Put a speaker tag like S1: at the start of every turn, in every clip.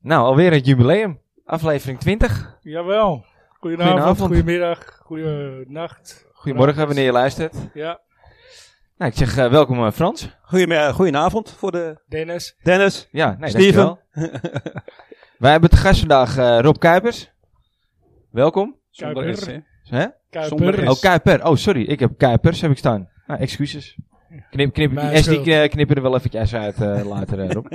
S1: Nou, alweer het jubileum. Aflevering 20.
S2: Jawel. Goedenavond,
S1: Goedenavond.
S2: goedemiddag, goedenacht.
S1: Goedemorgen wanneer je luistert.
S2: Ja,
S1: Nou, ik zeg eh, welkom eh, Frans.
S3: Goedemiddag, goedenavond voor de
S2: Dennis.
S3: Dennis.
S1: Ja, nee,
S3: Steven.
S1: dankjewel. Wij hebben te gast vandaag eh, Rob Kuipers. Welkom.
S3: Zonder
S2: Kuiper.
S3: S, hè?
S1: Hè?
S2: Kuiper.
S3: Zonder
S1: Oh, Kuiper. Oh, sorry. Ik heb Kuipers heb ik staan. Nou, excuses. Knip, knip,
S2: Mijn
S1: die S die
S2: schuld.
S1: eh, knippen er wel eventjes uit eh, later, eh, Rob.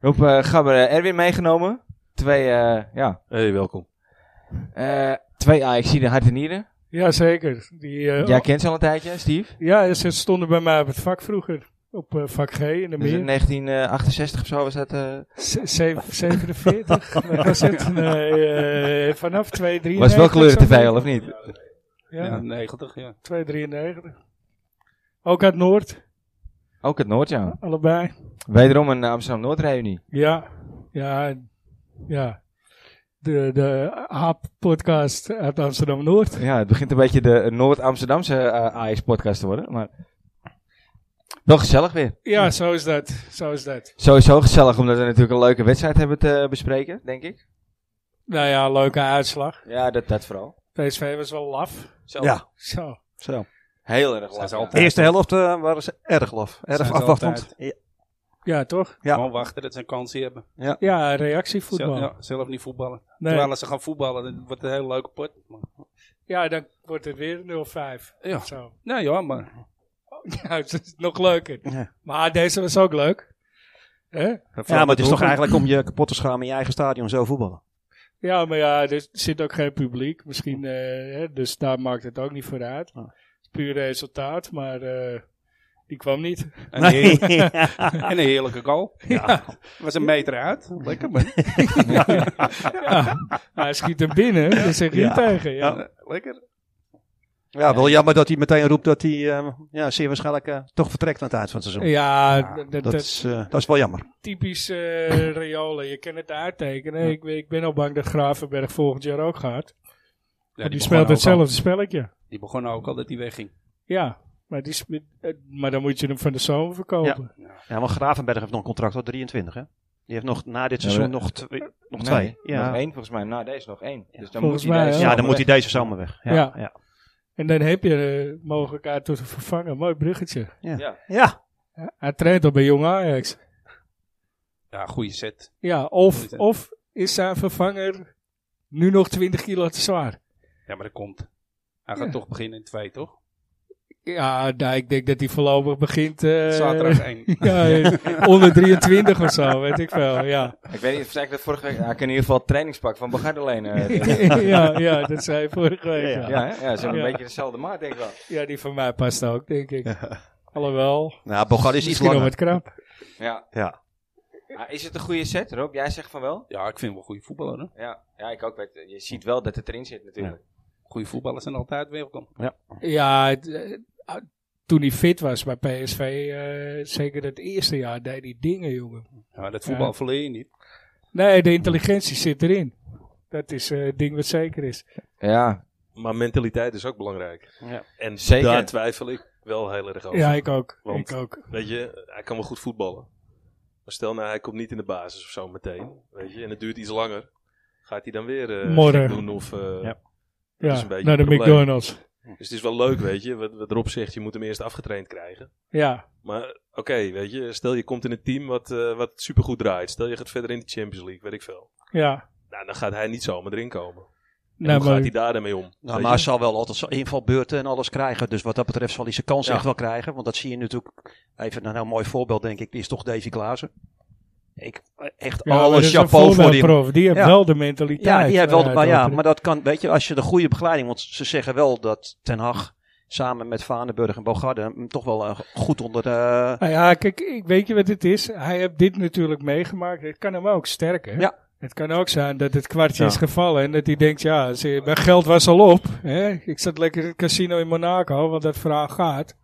S1: Rob eh, Gabber, eh, Erwin meegenomen. Twee, eh, ja,
S3: Hey, welkom.
S1: eh twee AXI'den hart en nieren.
S2: Jazeker. Die, eh,
S1: Jij kent ze al een tijdje, Steve.
S2: ja, ze stonden bij mij op het vak vroeger. Op eh, vak G in de
S1: Dus in
S2: meer.
S1: 1968 of zo was dat... eh,
S2: Ze- zeven- 47, wat was het? Nee, eh, vanaf 2,93.
S1: was wel kleuren te
S2: zo'n
S1: veel, of
S2: ding.
S1: niet?
S3: Ja,
S2: Ja,
S3: 90, ja.
S2: 2,93. Ook uit Noord,
S1: Ook het Noord, ja.
S2: allebei.
S1: Wederom een Amsterdam-Noord-reunie.
S2: Ja, ja, ja. De, de AAP-podcast uit Amsterdam-Noord.
S1: Ja, het begint een beetje de Noord-Amsterdamse eh, AIS-podcast te worden. Maar wel gezellig weer.
S2: Ja, zo is dat. Zo is dat.
S1: Sowieso gezellig, omdat we natuurlijk een leuke wedstrijd hebben te bespreken, denk ik.
S2: Nou ja, leuke uitslag.
S1: Ja, dat, dat vooral.
S2: PSV was wel laf.
S1: Zo.
S3: Ja,
S2: Zo.
S3: zo.
S1: Heel erg
S4: Zijn ze
S1: leuk.
S4: altijd-
S3: De eerste helft eh, waren ze erg laf.
S4: Zijn
S3: Erg
S4: ze
S3: afwachtend.
S4: altijd.
S3: Ja,
S2: Ja, toch?
S3: Ja.
S4: Gewoon wachten dat ze een kansje hebben.
S2: Ja, reactievoetbal.
S4: Zelf,
S2: ja.
S4: ja, zelf niet voetballen.
S2: Nee.
S4: Terwijl als ze gaan voetballen, dan wordt het een heel leuke pot. Maar,
S2: dan wordt het weer 0-5.
S4: Ja.
S2: Zo. Oh,
S4: nou ja, maar
S2: Ja, het is nog leuker.
S3: Ja.
S2: Maar deze was ook leuk. Hè?
S3: maar het is toch eigenlijk om je kapot te schamen in je eigen stadion zo voetballen.
S2: Ja, maar ja, er zit ook geen publiek. Misschien, eh, hè, dus daar maakt het ook niet voor uit.
S3: Ah.
S2: Puur resultaat, maar eh, die kwam niet.
S4: een, heerlijke,
S3: ja.
S4: en een heerlijke goal.
S2: Ja.
S4: Was een meter uit. Lekker man.
S2: Ja. Hij schiet er binnen, daar zeg je
S3: Ja.
S2: niet tegen. Ja.
S4: Ja, eh, Lekker.
S3: wel jammer dat hij meteen roept dat hij eh, ja, zeer waarschijnlijk eh, toch vertrekt aan het eind van het seizoen.
S2: Ja, d- d-
S3: Dat
S2: dat-
S3: is, eh, dat is wel jammer.
S2: typisch eh Riolen. Je kan het uittekenen. Ik, ik ben al bang dat Gravenberg volgend jaar ook gaat.
S4: Ja,
S2: Maar die
S4: begon ook
S2: speelt
S4: al-
S2: hetzelfde spelletje.
S4: Die begon ook al dat die wegging.
S2: Ja, maar, die, spe- eh, maar dan moet je hem van de zomer verkopen.
S3: Ja, want Gravenberg heeft nog een contract tot 23, hè? Die heeft nog na dit
S1: Ja,
S3: seizoen
S1: maar-
S3: nog, twee-
S1: Nee,
S3: nog twee.
S1: Nog
S3: Ja.
S1: één volgens mij. Nou, deze nog één. Dus dan
S2: Volgens
S1: moet
S2: mij,
S1: hij deze
S2: hè?
S3: ja, dan
S1: zomer
S3: moet hij deze zomer weg. Ja,
S2: Ja.
S3: ja. ja.
S2: En dan heb je de mogelijkheid tot een vervangen. Mooi bruggetje.
S3: ja.
S2: Ja, Hij traint al bij Jong Ajax.
S4: Ja, goede set.
S2: Ja, of,
S4: Goed, hè?
S2: of is zijn vervanger nu nog 20 kilo te zwaar?
S4: Ja, maar dat komt. Hij gaat
S2: Ja.
S4: toch beginnen in twee, toch?
S2: Ja, nou, ik denk dat hij voorlopig begint... eh,
S4: Zaterdag één.
S2: Ja, eh, onder 23 of zo, weet ik wel. Ja,
S1: weg. Ik weet niet of zei ik dat vorige week... Ja, ik kan in ieder geval het trainingspak van Bogart alleen. eh,
S2: ja, ja dat zei je vorige week. ja.
S3: Ja,
S1: ja, hè? ja, ze hebben een
S2: Ja.
S1: beetje dezelfde maat, denk ik wel.
S2: Ja, die van mij past ook, denk ik. Alhoewel,
S3: Nou, Bogarde is iets
S2: misschien nog
S3: langer.
S2: wat krap.
S1: Ja.
S3: Ja.
S1: Ah, is het een goede set, Rob? Jij zegt van wel?
S4: Ja, ik vind hem wel goede voetballer. Hè?
S1: Ja, ja ik ook. Weet, je ziet wel dat het erin zit natuurlijk.
S4: Goede voetballers zijn altijd welkom.
S2: Ja, het, eh, ah, toen hij fit was bij PSV, eh, zeker het eerste jaar, deed hij dingen, jongen.
S4: Ja, dat voetbal
S2: Ja.
S4: verleer je niet.
S2: Nee, de intelligentie zit erin. Dat is eh, het ding wat zeker is.
S1: ja.
S5: Maar mentaliteit is ook belangrijk.
S3: Ja.
S5: En
S1: Zeker.
S5: daar twijfel ik wel heel erg over.
S2: Ja, ik ook.
S5: Want-
S2: ik ook.
S5: Weet je, hij kan wel goed voetballen. Maar stel nou, hij komt niet in de basis of zo meteen. Weet je, en het duurt iets langer. Gaat hij dan weer eh
S2: Morren.
S5: gek doen? Of, eh,
S3: Ja.
S5: is
S2: Ja,
S5: een beetje
S2: naar de
S5: een probleem.
S2: McDonald's.
S5: Dus het is wel leuk, weet je. Wat, wat Rob zegt, je moet hem eerst afgetraind krijgen.
S2: Ja,
S5: Maar oké, weet je. Stel je komt in een team wat, eh, wat supergoed draait. Stel je gaat verder in de Champions League, weet ik veel.
S2: ja.
S5: Nou, dan gaat hij niet zomaar erin komen. En
S2: Nou,
S5: hoe
S2: maar-
S5: gaat hij daar dan mee om?
S3: Nou,
S5: Weet
S3: maar
S5: je?
S3: hij zal wel altijd zijn invalbeurten en alles krijgen. Dus wat dat betreft zal hij zijn kans
S5: Ja.
S3: echt wel krijgen. Want dat zie je natuurlijk. Even nou, een mooi voorbeeld, denk ik. Die is toch Davy Klaassen. Ik, echt
S2: ja, maar dat
S3: alles
S2: is een
S3: chapeau voor hem.
S2: voorbeeldprof. Die heeft
S3: Ja.
S2: wel de mentaliteit. eh,
S3: Ja, die heeft wel,
S2: waaruit
S3: maar, ja,
S2: dat-
S3: maar dat kan, weet je, als je de goede begeleiding. Want ze zeggen wel dat Ten Hag samen met Vaneburg en Bogarde hem toch wel eh, goed onder de.
S2: Nou ja, kijk, ik weet je wat het is? Hij heeft dit natuurlijk meegemaakt. Het kan hem ook sterken.
S3: Ja.
S2: Het kan ook zijn dat het kwartje
S3: Ja.
S2: is gevallen en dat hij denkt, ja, zie je, mijn geld was al op. Hè? Ik zat lekker in het casino in Monaco, want dat verhaal gaat.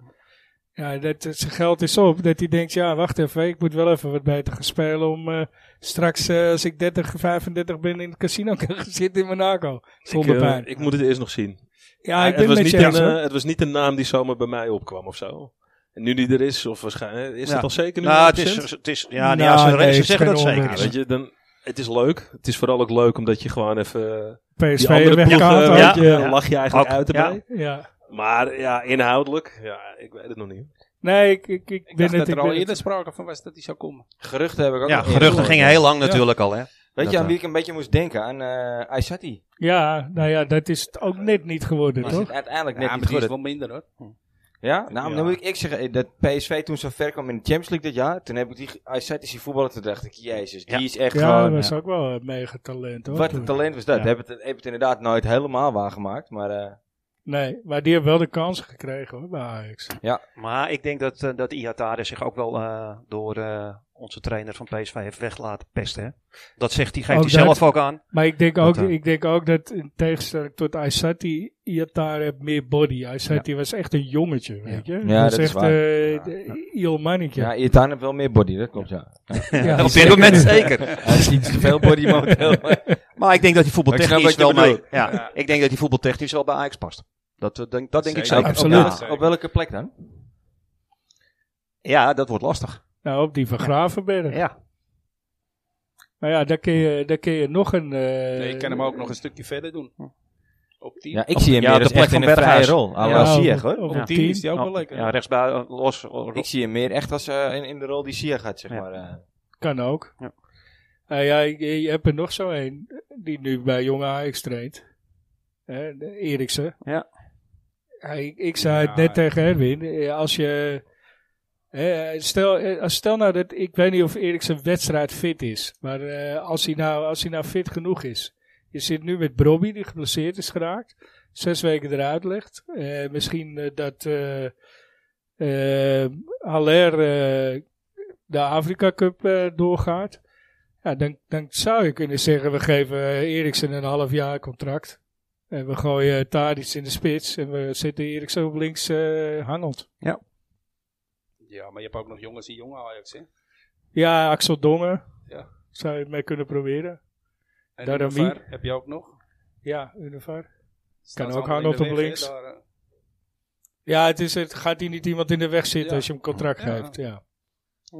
S2: Ja, dat eh, zijn geld is op. Dat hij denkt, ja, wacht even, ik moet wel even wat beter gaan spelen om eh, straks, eh, als ik 30, 35 ben, in het casino te gaan zitten in Monaco. Zonder
S5: ik, eh,
S2: pijn.
S5: ik moet het eerst nog zien.
S2: Ja, ik
S5: het,
S2: ben
S5: was
S2: met
S5: niet
S2: je
S5: een,
S2: eens, hoor.
S5: eh, het was niet een naam die zomaar bij mij opkwam of zo. En nu die er is, of waarschijnlijk. Is
S3: Ja.
S5: dat al zeker nu?
S3: Nou, het
S5: 100%?
S3: is, het is, ja,
S2: Nou,
S3: nou, als ze,
S2: nee,
S3: ze
S2: het is
S3: zeggen
S2: geen
S3: dat zeker.
S2: onrust.
S5: Ja, weet je, dan, het is leuk. Het is vooral ook leuk omdat je gewoon even eh, die
S2: PSV
S5: andere ploeg,
S2: weggehaald.
S5: eh,
S2: had
S5: ja,
S2: je.
S5: dan lach je eigenlijk
S3: Ook,
S5: uit erbij.
S2: Ja.
S5: Maar ja, inhoudelijk, ja, ik weet het nog niet.
S2: Nee, ik, ik, ik,
S4: Ik
S2: ben
S4: dacht
S2: het. Ik
S4: dat er al
S2: ben het.
S4: eerder sprake van was dat hij zou komen.
S1: Geruchten heb ik ook
S3: Ja,
S1: nog
S3: geruchten
S1: gehoord.
S3: gingen heel lang natuurlijk al, hè.
S1: Weet
S3: Dat
S1: je aan
S3: wel.
S1: wie ik een beetje moest denken? Aan eh Aysati.
S2: Ja, nou ja, dat is het ook net niet geworden,
S1: Die is
S2: toch?
S1: het uiteindelijk net
S4: Ja, maar
S1: niet
S4: die is
S1: geworden.
S4: wel minder hoor.
S2: Hm.
S1: Ja? Nou,
S5: Ja.
S1: dan moet ik, ik zeggen eh, dat PSV toen zo ver kwam in de Champions League dat jaar. Toen heb ik die Aysati zien voetballen. Toen dacht ik, jezus,
S3: Ja.
S1: die is echt
S2: Ja, dat
S1: gewoon...
S2: was ook wel een mega talent, hoor.
S1: Wat
S2: toen.
S1: een talent was dat.
S2: Ja.
S1: Heb, het, heb het inderdaad nooit helemaal waargemaakt. Maar eh,
S2: Nee, maar die hebben wel de kans gekregen, hoor, bij Ajax.
S3: Maar ik denk dat, eh, dat Iatare zich ook wel eh, door eh, onze trainer van PSV heeft weg laten pesten. Hè? Dat zegt hij, geeft
S2: Ook
S3: hij zelf
S2: dat-
S3: ook aan.
S2: Maar ik denk, ook,
S3: Dat, eh.
S2: ik denk ook dat in tegenstelling tot Aysati, Iatare heeft meer body. Aysati was echt een jongetje, weet je.
S1: Ja, dat is
S2: echt
S1: waar.
S2: eh,
S1: Ja.
S2: de- iel mannetje.
S1: ja, Ietaan heeft wel meer body, dat klopt ja.
S2: Ja,
S3: Op dit moment zeker.
S1: Hij is iets te veel body momenteel.
S3: Maar ik denk dat hij
S1: Ik
S3: voetbaltechnisch
S1: snap
S3: wel
S1: wat je
S3: mee.
S1: bedoelt.
S3: Ja. Ik denk dat hij voetbaltechnisch wel bij Ajax past. Dat, eh, denk, dat denk ik
S5: Zeker.
S3: zeker.
S1: Zeker.
S2: Absoluut.
S1: Op, welke- op welke plek dan?
S3: Ja, dat wordt lastig.
S2: Nou, op die van Gravenberg.
S3: Ja.
S2: Maar ja, daar kun je, daar kun je nog een... eh,
S4: Nee, ik kan hem ook nog een stukje verder doen. Op die.
S1: Hm. Ja, ik zie hem
S3: ja,
S1: meer
S3: op
S1: als
S3: de plek
S1: echt in
S3: van
S1: een vrije
S3: Berghuis.
S1: rol. à la
S2: ja,
S1: Ziyech,
S2: op-
S1: hoor.
S2: Op
S3: Ja.
S2: een
S4: die
S2: team.
S4: is die ook
S1: Oh,
S4: wel lekker.
S3: Ja, rechtsbui, eh, los. eh,
S1: Ik zie hem meer echt als, eh, in, in de rol die Ziyech gaat, zeg
S3: Ja.
S1: maar. eh.
S2: Kan ook.
S3: Ja.
S2: Nou ja, je, je hebt er nog zo een die nu bij Jonge Ajax traint. Hè, de Eriksen.
S3: Ja.
S2: Ja, ik, ik zei het
S4: Ja,
S2: net
S4: ja.
S2: tegen Erwin. eh, Als je... hè, stel, eh, als stel nou dat... Ik weet niet of Eriksen wedstrijd fit is. Maar eh, als, hij nou, als hij nou fit genoeg is. Je zit nu met Brobby die geblesseerd is geraakt. Zes weken eruit legt. Eh, misschien eh, dat... eh eh, Haller eh, de Afrika Cup eh, doorgaat. Ja, dan, dan zou je kunnen zeggen, we geven eh, Eriksen een half jaar contract. En we gooien eh, Tadic in de spits en we zetten Eriksen op links eh hangend.
S4: Ja, maar je hebt ook nog jongens die jonge Ajax, hè?
S2: Ja, Axel Dongen.
S4: Ja.
S2: Zou je het mee kunnen proberen.
S4: En
S2: Daarom
S4: Univar heb je ook nog.
S2: Ja, Univar.
S4: Staan
S2: ook
S4: ze allemaal
S2: hangen
S4: in
S2: op
S4: de
S2: hem
S4: weg, hè,
S2: links.
S4: daar, eh.
S2: Ja, het, is, het gaat hier niet iemand in de weg zitten
S4: Ja.
S2: als je hem contract
S4: Ja.
S2: geeft. Ja.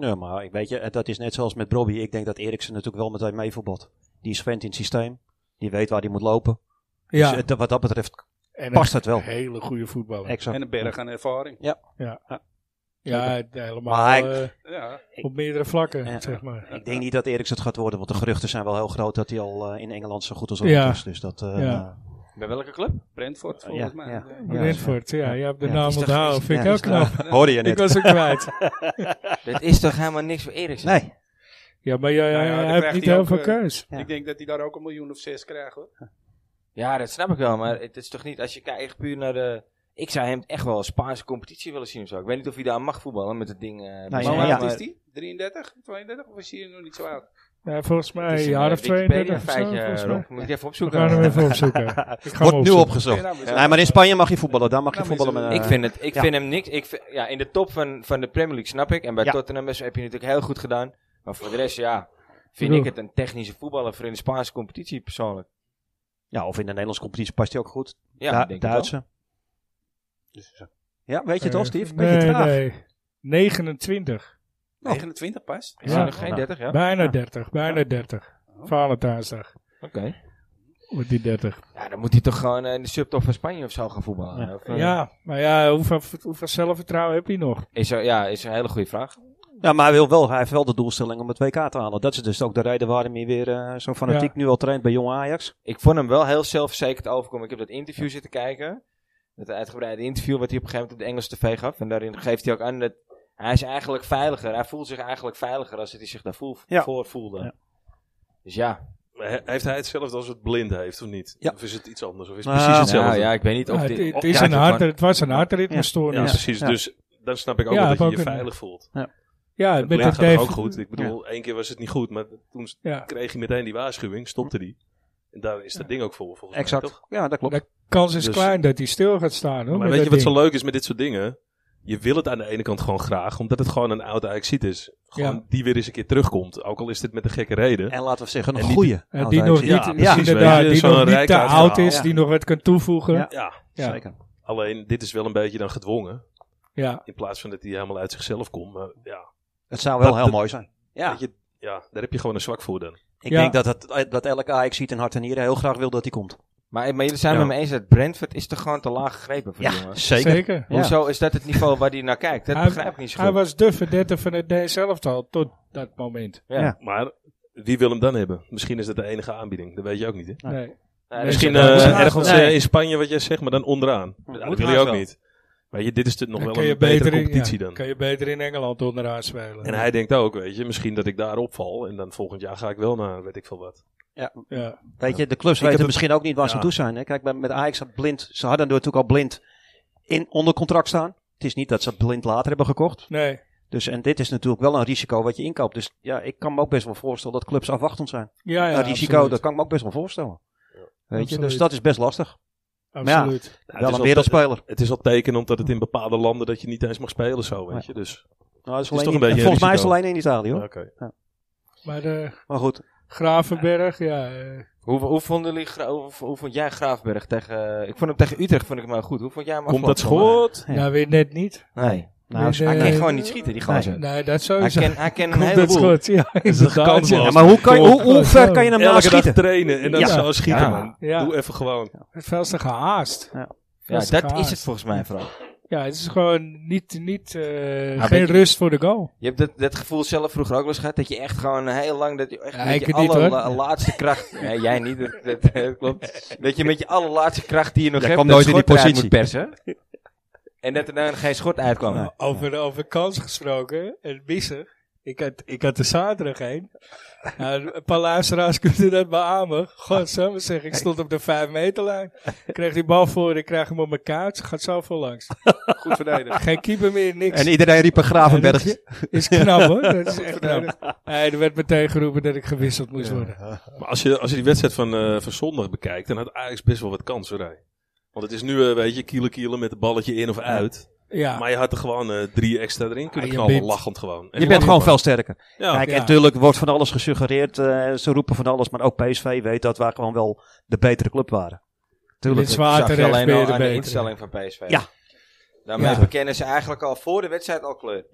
S3: Ja, maar ik weet je, eh, dat is net zoals met Bobby. Ik denk dat Eriksen natuurlijk wel meteen mee voetbalt. Die is vent in het systeem. Die weet waar hij moet lopen.
S2: ja.
S3: Dus, eh, wat dat betreft
S2: en
S3: past dat wel.
S2: een hele goede voetballer.
S3: Exact.
S4: En een berg aan ervaring.
S2: ja, helemaal
S3: Maar hij-
S2: eh,
S4: Ja,
S2: op meerdere vlakken,
S3: Ja.
S2: zeg maar.
S3: Ik denk niet dat Eriksen het gaat worden, want de geruchten zijn wel heel groot dat hij al eh, in Engeland zo goed als rond
S2: Ja.
S3: is. Dus dat, eh,
S2: Ja.
S1: Bij welke club?
S4: Brentford volgens mij.
S3: ja.
S4: Ja.
S3: Ja.
S2: Brentford, ja, je hebt de
S3: Ja,
S2: naam
S3: is toch-
S2: onthouden.
S3: is-
S2: Vind ik
S3: ja,
S2: heel
S3: is toch-
S2: knap.
S3: Hoorde je
S2: Ik
S3: net?
S2: was er kwijt.
S1: Dat is toch helemaal niks voor Eriksen?
S3: Nee.
S2: Ja, maar jij,
S4: Nou ja,
S2: hij
S4: dan
S2: heeft
S4: krijgt
S2: niet
S4: hij
S2: heel
S4: ook,
S2: veel
S4: eh,
S2: keus.
S3: Ja.
S4: Ik denk dat hij daar ook een miljoen of zes krijgt hoor.
S1: Ja, dat snap ik wel. Maar het is toch niet... Als je kijkt echt puur naar de... Ik zou hem echt wel een Spaanse competitie willen zien of zo. Ik weet niet of hij daar mag voetballen met het ding. eh, bij
S3: ja,
S4: Maar
S1: zich,
S4: hoe
S3: ja.
S4: oud is die? 33, 32 of is hij nog niet zo oud?
S2: Ja, volgens mij
S1: Het is
S2: een
S1: een,
S2: jaar
S1: eh,
S2: of
S1: Wikipedia
S2: 32 of zo,
S1: feitje, eh,
S2: volgens mij.
S1: Rob. Moet ik even
S2: We
S1: opzoeken.
S2: gaan hem even opzoeken. Ik ga hem
S3: Wordt nu
S2: opzoeken.
S4: Nee,
S3: opgezocht.
S4: nou, maar zo-
S3: Nee, maar in Spanje mag je voetballen. Daar mag je
S4: Nou,
S3: voetballen met...
S4: maar
S3: eh,
S1: ik vind, het, ik
S3: ja.
S1: vind hem niks. Ik vind- ja, in de top van, van de Premier League snap ik. En bij
S3: Ja.
S1: Tottenham is- heb je natuurlijk heel goed gedaan. Maar voor de rest, ja, vind
S2: Bedoel.
S1: ik het een technische voetballer voor in de Spaanse competitie persoonlijk.
S3: Ja, of in de Nederlandse competitie past hij ook goed.
S1: Ja,
S3: Da-
S1: ik denk het wel.
S3: Duitse. Dus Ja, weet je het
S2: Eh,
S3: al, Steve? Beetje
S2: nee,
S3: traag.
S2: nee. 29.
S4: 29 pas.
S1: Is
S2: Ja.
S1: hij nog geen 30, ja?
S2: Bijna
S3: Ja.
S2: 30. Bijna 30. Valentijnsdag
S1: Oké.
S2: wordt die 30.
S1: Ja, dan moet hij toch gewoon eh, in de subtop van Spanje of zo gaan voetballen. Of, eh,
S2: Ja, maar ja, hoeveel, hoeveel zelfvertrouwen heb je nog?
S1: Is er, ja, is een hele goede vraag.
S3: Ja, maar hij, wil wel, hij heeft wel de doelstelling om het WK te halen. Dat is dus ook de reden waarom hij weer eh, zo fanatiek
S2: Ja.
S3: nu al traint bij jonge Ajax.
S1: Ik vond hem wel heel zelfverzekerd overkomen. Ik heb dat interview zitten kijken. Dat uitgebreide interview wat hij op een gegeven moment op de Engelse tv gaf. En daarin geeft hij ook aan dat hij is eigenlijk veiliger. Hij voelt zich eigenlijk veiliger als dat hij zich daar voel,
S3: Ja.
S1: voor voelde.
S3: Ja.
S1: Dus ja.
S5: Maar he- heeft hij hetzelfde als het blind heeft of niet?
S3: Ja.
S5: Of is het iets anders? Of is het
S3: Nou,
S5: precies hetzelfde?
S1: Nou ja, ik weet niet of
S2: Ja,
S1: dit...
S2: het, het
S1: of-
S2: is
S1: ja,
S2: een
S1: dit
S2: hard,
S1: gewoon-
S2: het was een
S5: Ja,
S2: hartritmestoornis.
S5: precies.
S3: Ja.
S5: Dus dan snap ik ook
S2: Ja,
S5: wel
S2: heb
S5: dat
S2: ook
S5: je je
S2: een-
S5: veilig voelt.
S2: Ja,
S5: Het
S2: met
S5: blind
S2: dat
S5: gaat toch
S2: Dave.
S5: ook goed. Ik bedoel, één keer was het niet goed, maar toen
S2: Ja.
S5: kreeg hij meteen die waarschuwing, stopte die. En daar is dat ding ook voor, volgens mij,
S3: Exact.
S5: toch?
S3: Ja, dat klopt.
S2: De kans is
S5: Dus-
S2: klein dat hij stil gaat staan. Hoor,
S5: Maar
S2: Oh, met
S5: weet je wat
S2: dat
S5: zo
S2: ding.
S5: leuk is met dit soort dingen? Je wil het aan de ene kant gewoon graag, omdat het gewoon een oud Ajaxiet is. Gewoon
S2: Ja.
S5: die weer eens een keer terugkomt, ook al is dit met een gekke reden.
S3: En laten we zeggen, een
S5: En die-
S3: goede.
S2: Eh, die nog niet,
S5: Ja, precies,
S2: ja, inderdaad,
S5: weet je,
S2: die
S5: zo'n
S2: nog niet
S5: rijk
S2: te
S5: oud
S2: oud
S5: verhaal.
S2: is, die nog wat kan toevoegen.
S3: Ja.
S5: Ja,
S2: Ja.
S3: Zeker.
S5: alleen dit is wel een beetje dan gedwongen.
S2: Ja,
S5: In plaats van dat hij helemaal uit zichzelf komt. Maar ja,
S3: Het zou wel
S5: Dat-
S3: heel
S5: dat-
S3: mooi zijn. Ja.
S5: Weet je, ja, daar heb je gewoon een zwak voor dan.
S3: Ik
S2: Ja.
S3: denk dat, het, dat elke ajax ziet in hart en nieren heel graag wil dat hij komt.
S1: Maar, maar jullie zijn
S3: Ja.
S1: het me eens dat Brentford is toch gewoon te laag gegrepen voor die jongen.
S3: zeker.
S2: Zeker.
S3: Ja.
S1: Hoezo is dat het niveau waar hij naar kijkt? Dat
S2: Hij-
S1: begrijp ik niet zo
S2: Hij
S1: goed.
S2: was de verdette van het Nederlands elftal tot dat moment.
S1: ja.
S3: Ja.
S5: Maar wie wil hem dan hebben? Misschien is dat de enige aanbieding. Dat weet je ook niet, hè?
S3: Nee.
S2: Nee.
S1: Nou,
S2: Misschien,
S5: Misschien
S2: dat
S5: eh,
S2: is haast
S5: ergens
S3: wel.
S5: eh, in Spanje wat jij zegt, maar dan onderaan. Nou, dat
S1: moet
S5: wil je
S1: haast
S5: ook
S1: wel.
S5: niet. Weet je, dit is natuurlijk nog
S2: Dan
S5: wel
S2: kun
S5: een betere competitie
S2: in, ja,
S5: dan.
S2: Kun je beter in Engeland onderaan spelen.
S5: En hij denkt ook, weet je, misschien dat ik daar opval en dan volgend jaar ga ik wel naar weet ik veel wat.
S2: ja.
S3: Weet je, de clubs
S5: heb
S3: weten
S5: het-
S3: misschien ook niet waar ze
S5: Ja.
S3: aan toe zijn. Hè? Kijk, bij- met Ajax had blind, ze hadden natuurlijk al blind in, onder contract staan. Het is niet dat ze blind later hebben gekocht.
S2: Nee.
S3: Dus, en dit is natuurlijk wel een risico wat je inkoopt. Dus ja, ik kan me ook best wel voorstellen dat clubs afwachtend zijn.
S2: Ja, ja,
S3: een risico,
S2: absoluut.
S3: dat kan ik me ook best wel voorstellen. Weet je, dus
S2: Absoluut.
S3: dat is best lastig. ja.
S2: Absoluut.
S5: Nou,
S3: wel
S5: het,
S3: een
S5: is al te-
S3: wereldspeler.
S5: het is al teken omdat het in bepaalde landen dat je niet eens mag spelen zo, weet je. Dus,
S3: Nou, dat is
S5: toch
S3: alleen
S5: een
S3: in-
S5: beetje
S3: volgens mij is het
S5: risico.
S3: alleen in Italië hoor.
S5: oké.
S2: Maar de
S3: Maar goed,
S2: Gravenberg, ja. eh,
S1: Hoe, hoe, vonden jullie, Gra- hoe, hoe vond jij Graafberg tegen... ik vond hem tegen Utrecht vond ik hem wel goed. Hoe vond jij hem
S5: Komt dat
S1: afgelopen
S5: schot?
S3: Ja.
S2: ja, nou, weer net niet.
S1: zondag? Nee.
S3: nou,
S2: Nee,
S1: Hij
S2: nee.
S1: kan gewoon niet schieten, die gozer.
S2: Nee, dat
S1: Hij
S2: sowieso.
S1: ken, hij ken een
S2: Komt dat
S1: heleboel.
S2: schot. Ja, inderdaad.
S5: kansloos.
S2: Ja,
S3: Ja, maar hoe, kan je,
S5: Kom
S3: hoe,
S2: op.
S3: hoe ver kan je hem nou
S5: Elke dag
S3: schieten?
S5: trainen en dan
S3: Ja.
S5: zo schieten,
S1: Ja.
S5: man.
S2: Ja.
S5: Doe even gewoon.
S2: Veel te gehaast.
S3: Ja.
S2: Veel
S1: Ja,
S2: te
S1: dat
S2: gehaast.
S1: is het volgens mij vooral.
S2: Ja, het is gewoon niet, niet, eh,
S1: Maar
S2: geen
S1: weet je-
S2: rust voor de goal.
S1: Je hebt dat, dat gevoel zelf vroeger ook wel eens gehad. Dat je echt gewoon heel lang... Dat je, echt
S2: Ja,
S1: met
S2: ik
S1: je
S2: het niet, hoor.
S1: allerla- laatste kracht... nee, jij niet. Dat, dat, dat klopt. Dat je met je allerlaatste kracht die je nog
S3: Jij
S1: hebt...
S3: kwam
S1: dat
S3: nooit in
S1: schot
S3: die
S1: eruit
S3: positie.
S1: moet persen. En dat er dan geen schot uitkwam.
S2: Nou,
S3: Nee.
S2: Over, over kans gesproken en missen. Ik had, ik had er zaterdag een. Nou, een paar luisteraars kunnen dat beamen. God, zo maar zeggen. Ik stond op de 5 meterlijn. Ik kreeg die bal voor. Ik kreeg hem op mijn kaart. Gaat zo voor langs.
S4: Goed verdedigd.
S2: Geen keeper meer, niks.
S3: En iedereen riep een Gravenbergje.
S2: Is knap hoor. Dat is echt nodig. Nee, er werd meteen geroepen dat ik gewisseld moest worden.
S5: Maar als je, als je die wedstrijd van, eh, van zondag bekijkt, dan had Ajax best wel wat kansenrij. Want het is nu, eh, weet je, kielen kielen met het balletje in of uit.
S2: Ja.
S5: Maar je had er gewoon eh, drie extra erin kunnen
S2: Ah, je
S5: knallen,
S2: bent-
S5: lachend gewoon. En
S3: Je
S5: die
S3: bent
S5: wonnen
S3: gewoon veel sterker.
S5: Ja.
S3: Kijk,
S2: Ja.
S3: en natuurlijk wordt van alles gesuggereerd. eh, ze roepen van alles, maar ook PSV weet dat wij gewoon wel de betere club waren. Tuurlijk.
S2: Dit is waar
S1: Zag je
S2: terecht
S1: alleen
S2: weer
S1: al
S2: de
S1: aan de
S2: betere.
S1: instelling van PSV.
S3: Ja.
S1: Daarmee
S2: Ja.
S1: bekennen ze eigenlijk al voor de wedstrijd al kleur.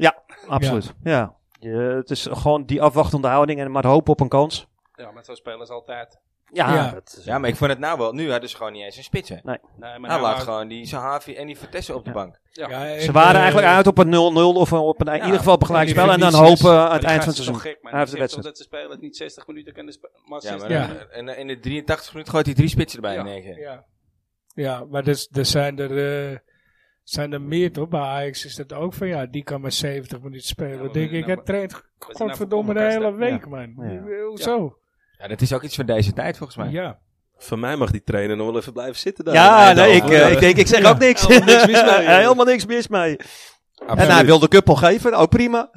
S3: Absoluut. Ja. Je- het is gewoon die afwachtende houding en maar hopen op een kans.
S4: Ja, maar zo spelen ze altijd.
S3: Ja,
S2: Ja.
S3: dat is-
S1: Ja, maar ik vond het nou wel. Nu hadden ze gewoon niet eens een spits, hè.
S4: Nee, maar
S1: Hij
S4: nou,
S1: laat gewoon die Sahavi en die Vertessen op de
S3: Ah, Ja.
S1: bank.
S2: Ja, en,
S3: ze waren
S2: eh,
S3: eigenlijk uit op een 0-0 of een- op een, in ieder geval op een gelijk
S2: die
S3: spel. En dan
S2: verliezers.
S3: hopen eh, aan
S4: maar
S3: het
S4: die
S3: eind van
S4: gasten
S3: het seizoen.
S4: is toch Gek, man.
S3: Hij heeft
S4: Die
S3: de
S4: zegt toch dat ze spelen het niet 60 minuten kunnen spelen. Maar,
S1: Ja,
S4: 60
S1: maar
S2: Ja.
S1: dan- En, en in de 83 minuten gooit hij drie spitsen erbij.
S4: Ja.
S1: in één keer.
S2: Ja, ja maar dus, er zijn er, eh, zijn er meer toch? Bij Ajax is dat ook van ja, die kan maar 70 minuten spelen.
S4: Ja,
S2: Dan
S4: maar
S2: denk
S4: we-
S2: ik,
S4: nou,
S2: hij traint
S4: nou
S2: godverdomme de
S4: voor elkaar
S2: hele
S4: staan?
S2: week, man.
S3: Ja.
S2: Hoezo?
S1: Ja, dat is ook iets van deze tijd volgens
S2: Ja.
S1: mij.
S5: Van mij mag die trainer nog wel even blijven zitten daar.
S3: Ja, nee, ik,
S5: Eindhoven.
S3: eh, ik denk, ik zeg ook niks.
S5: Helemaal niks mis mee.
S3: Helemaal niks mis mee. En hij
S1: Absoluut.
S3: wil de kuppel geven, ook prima.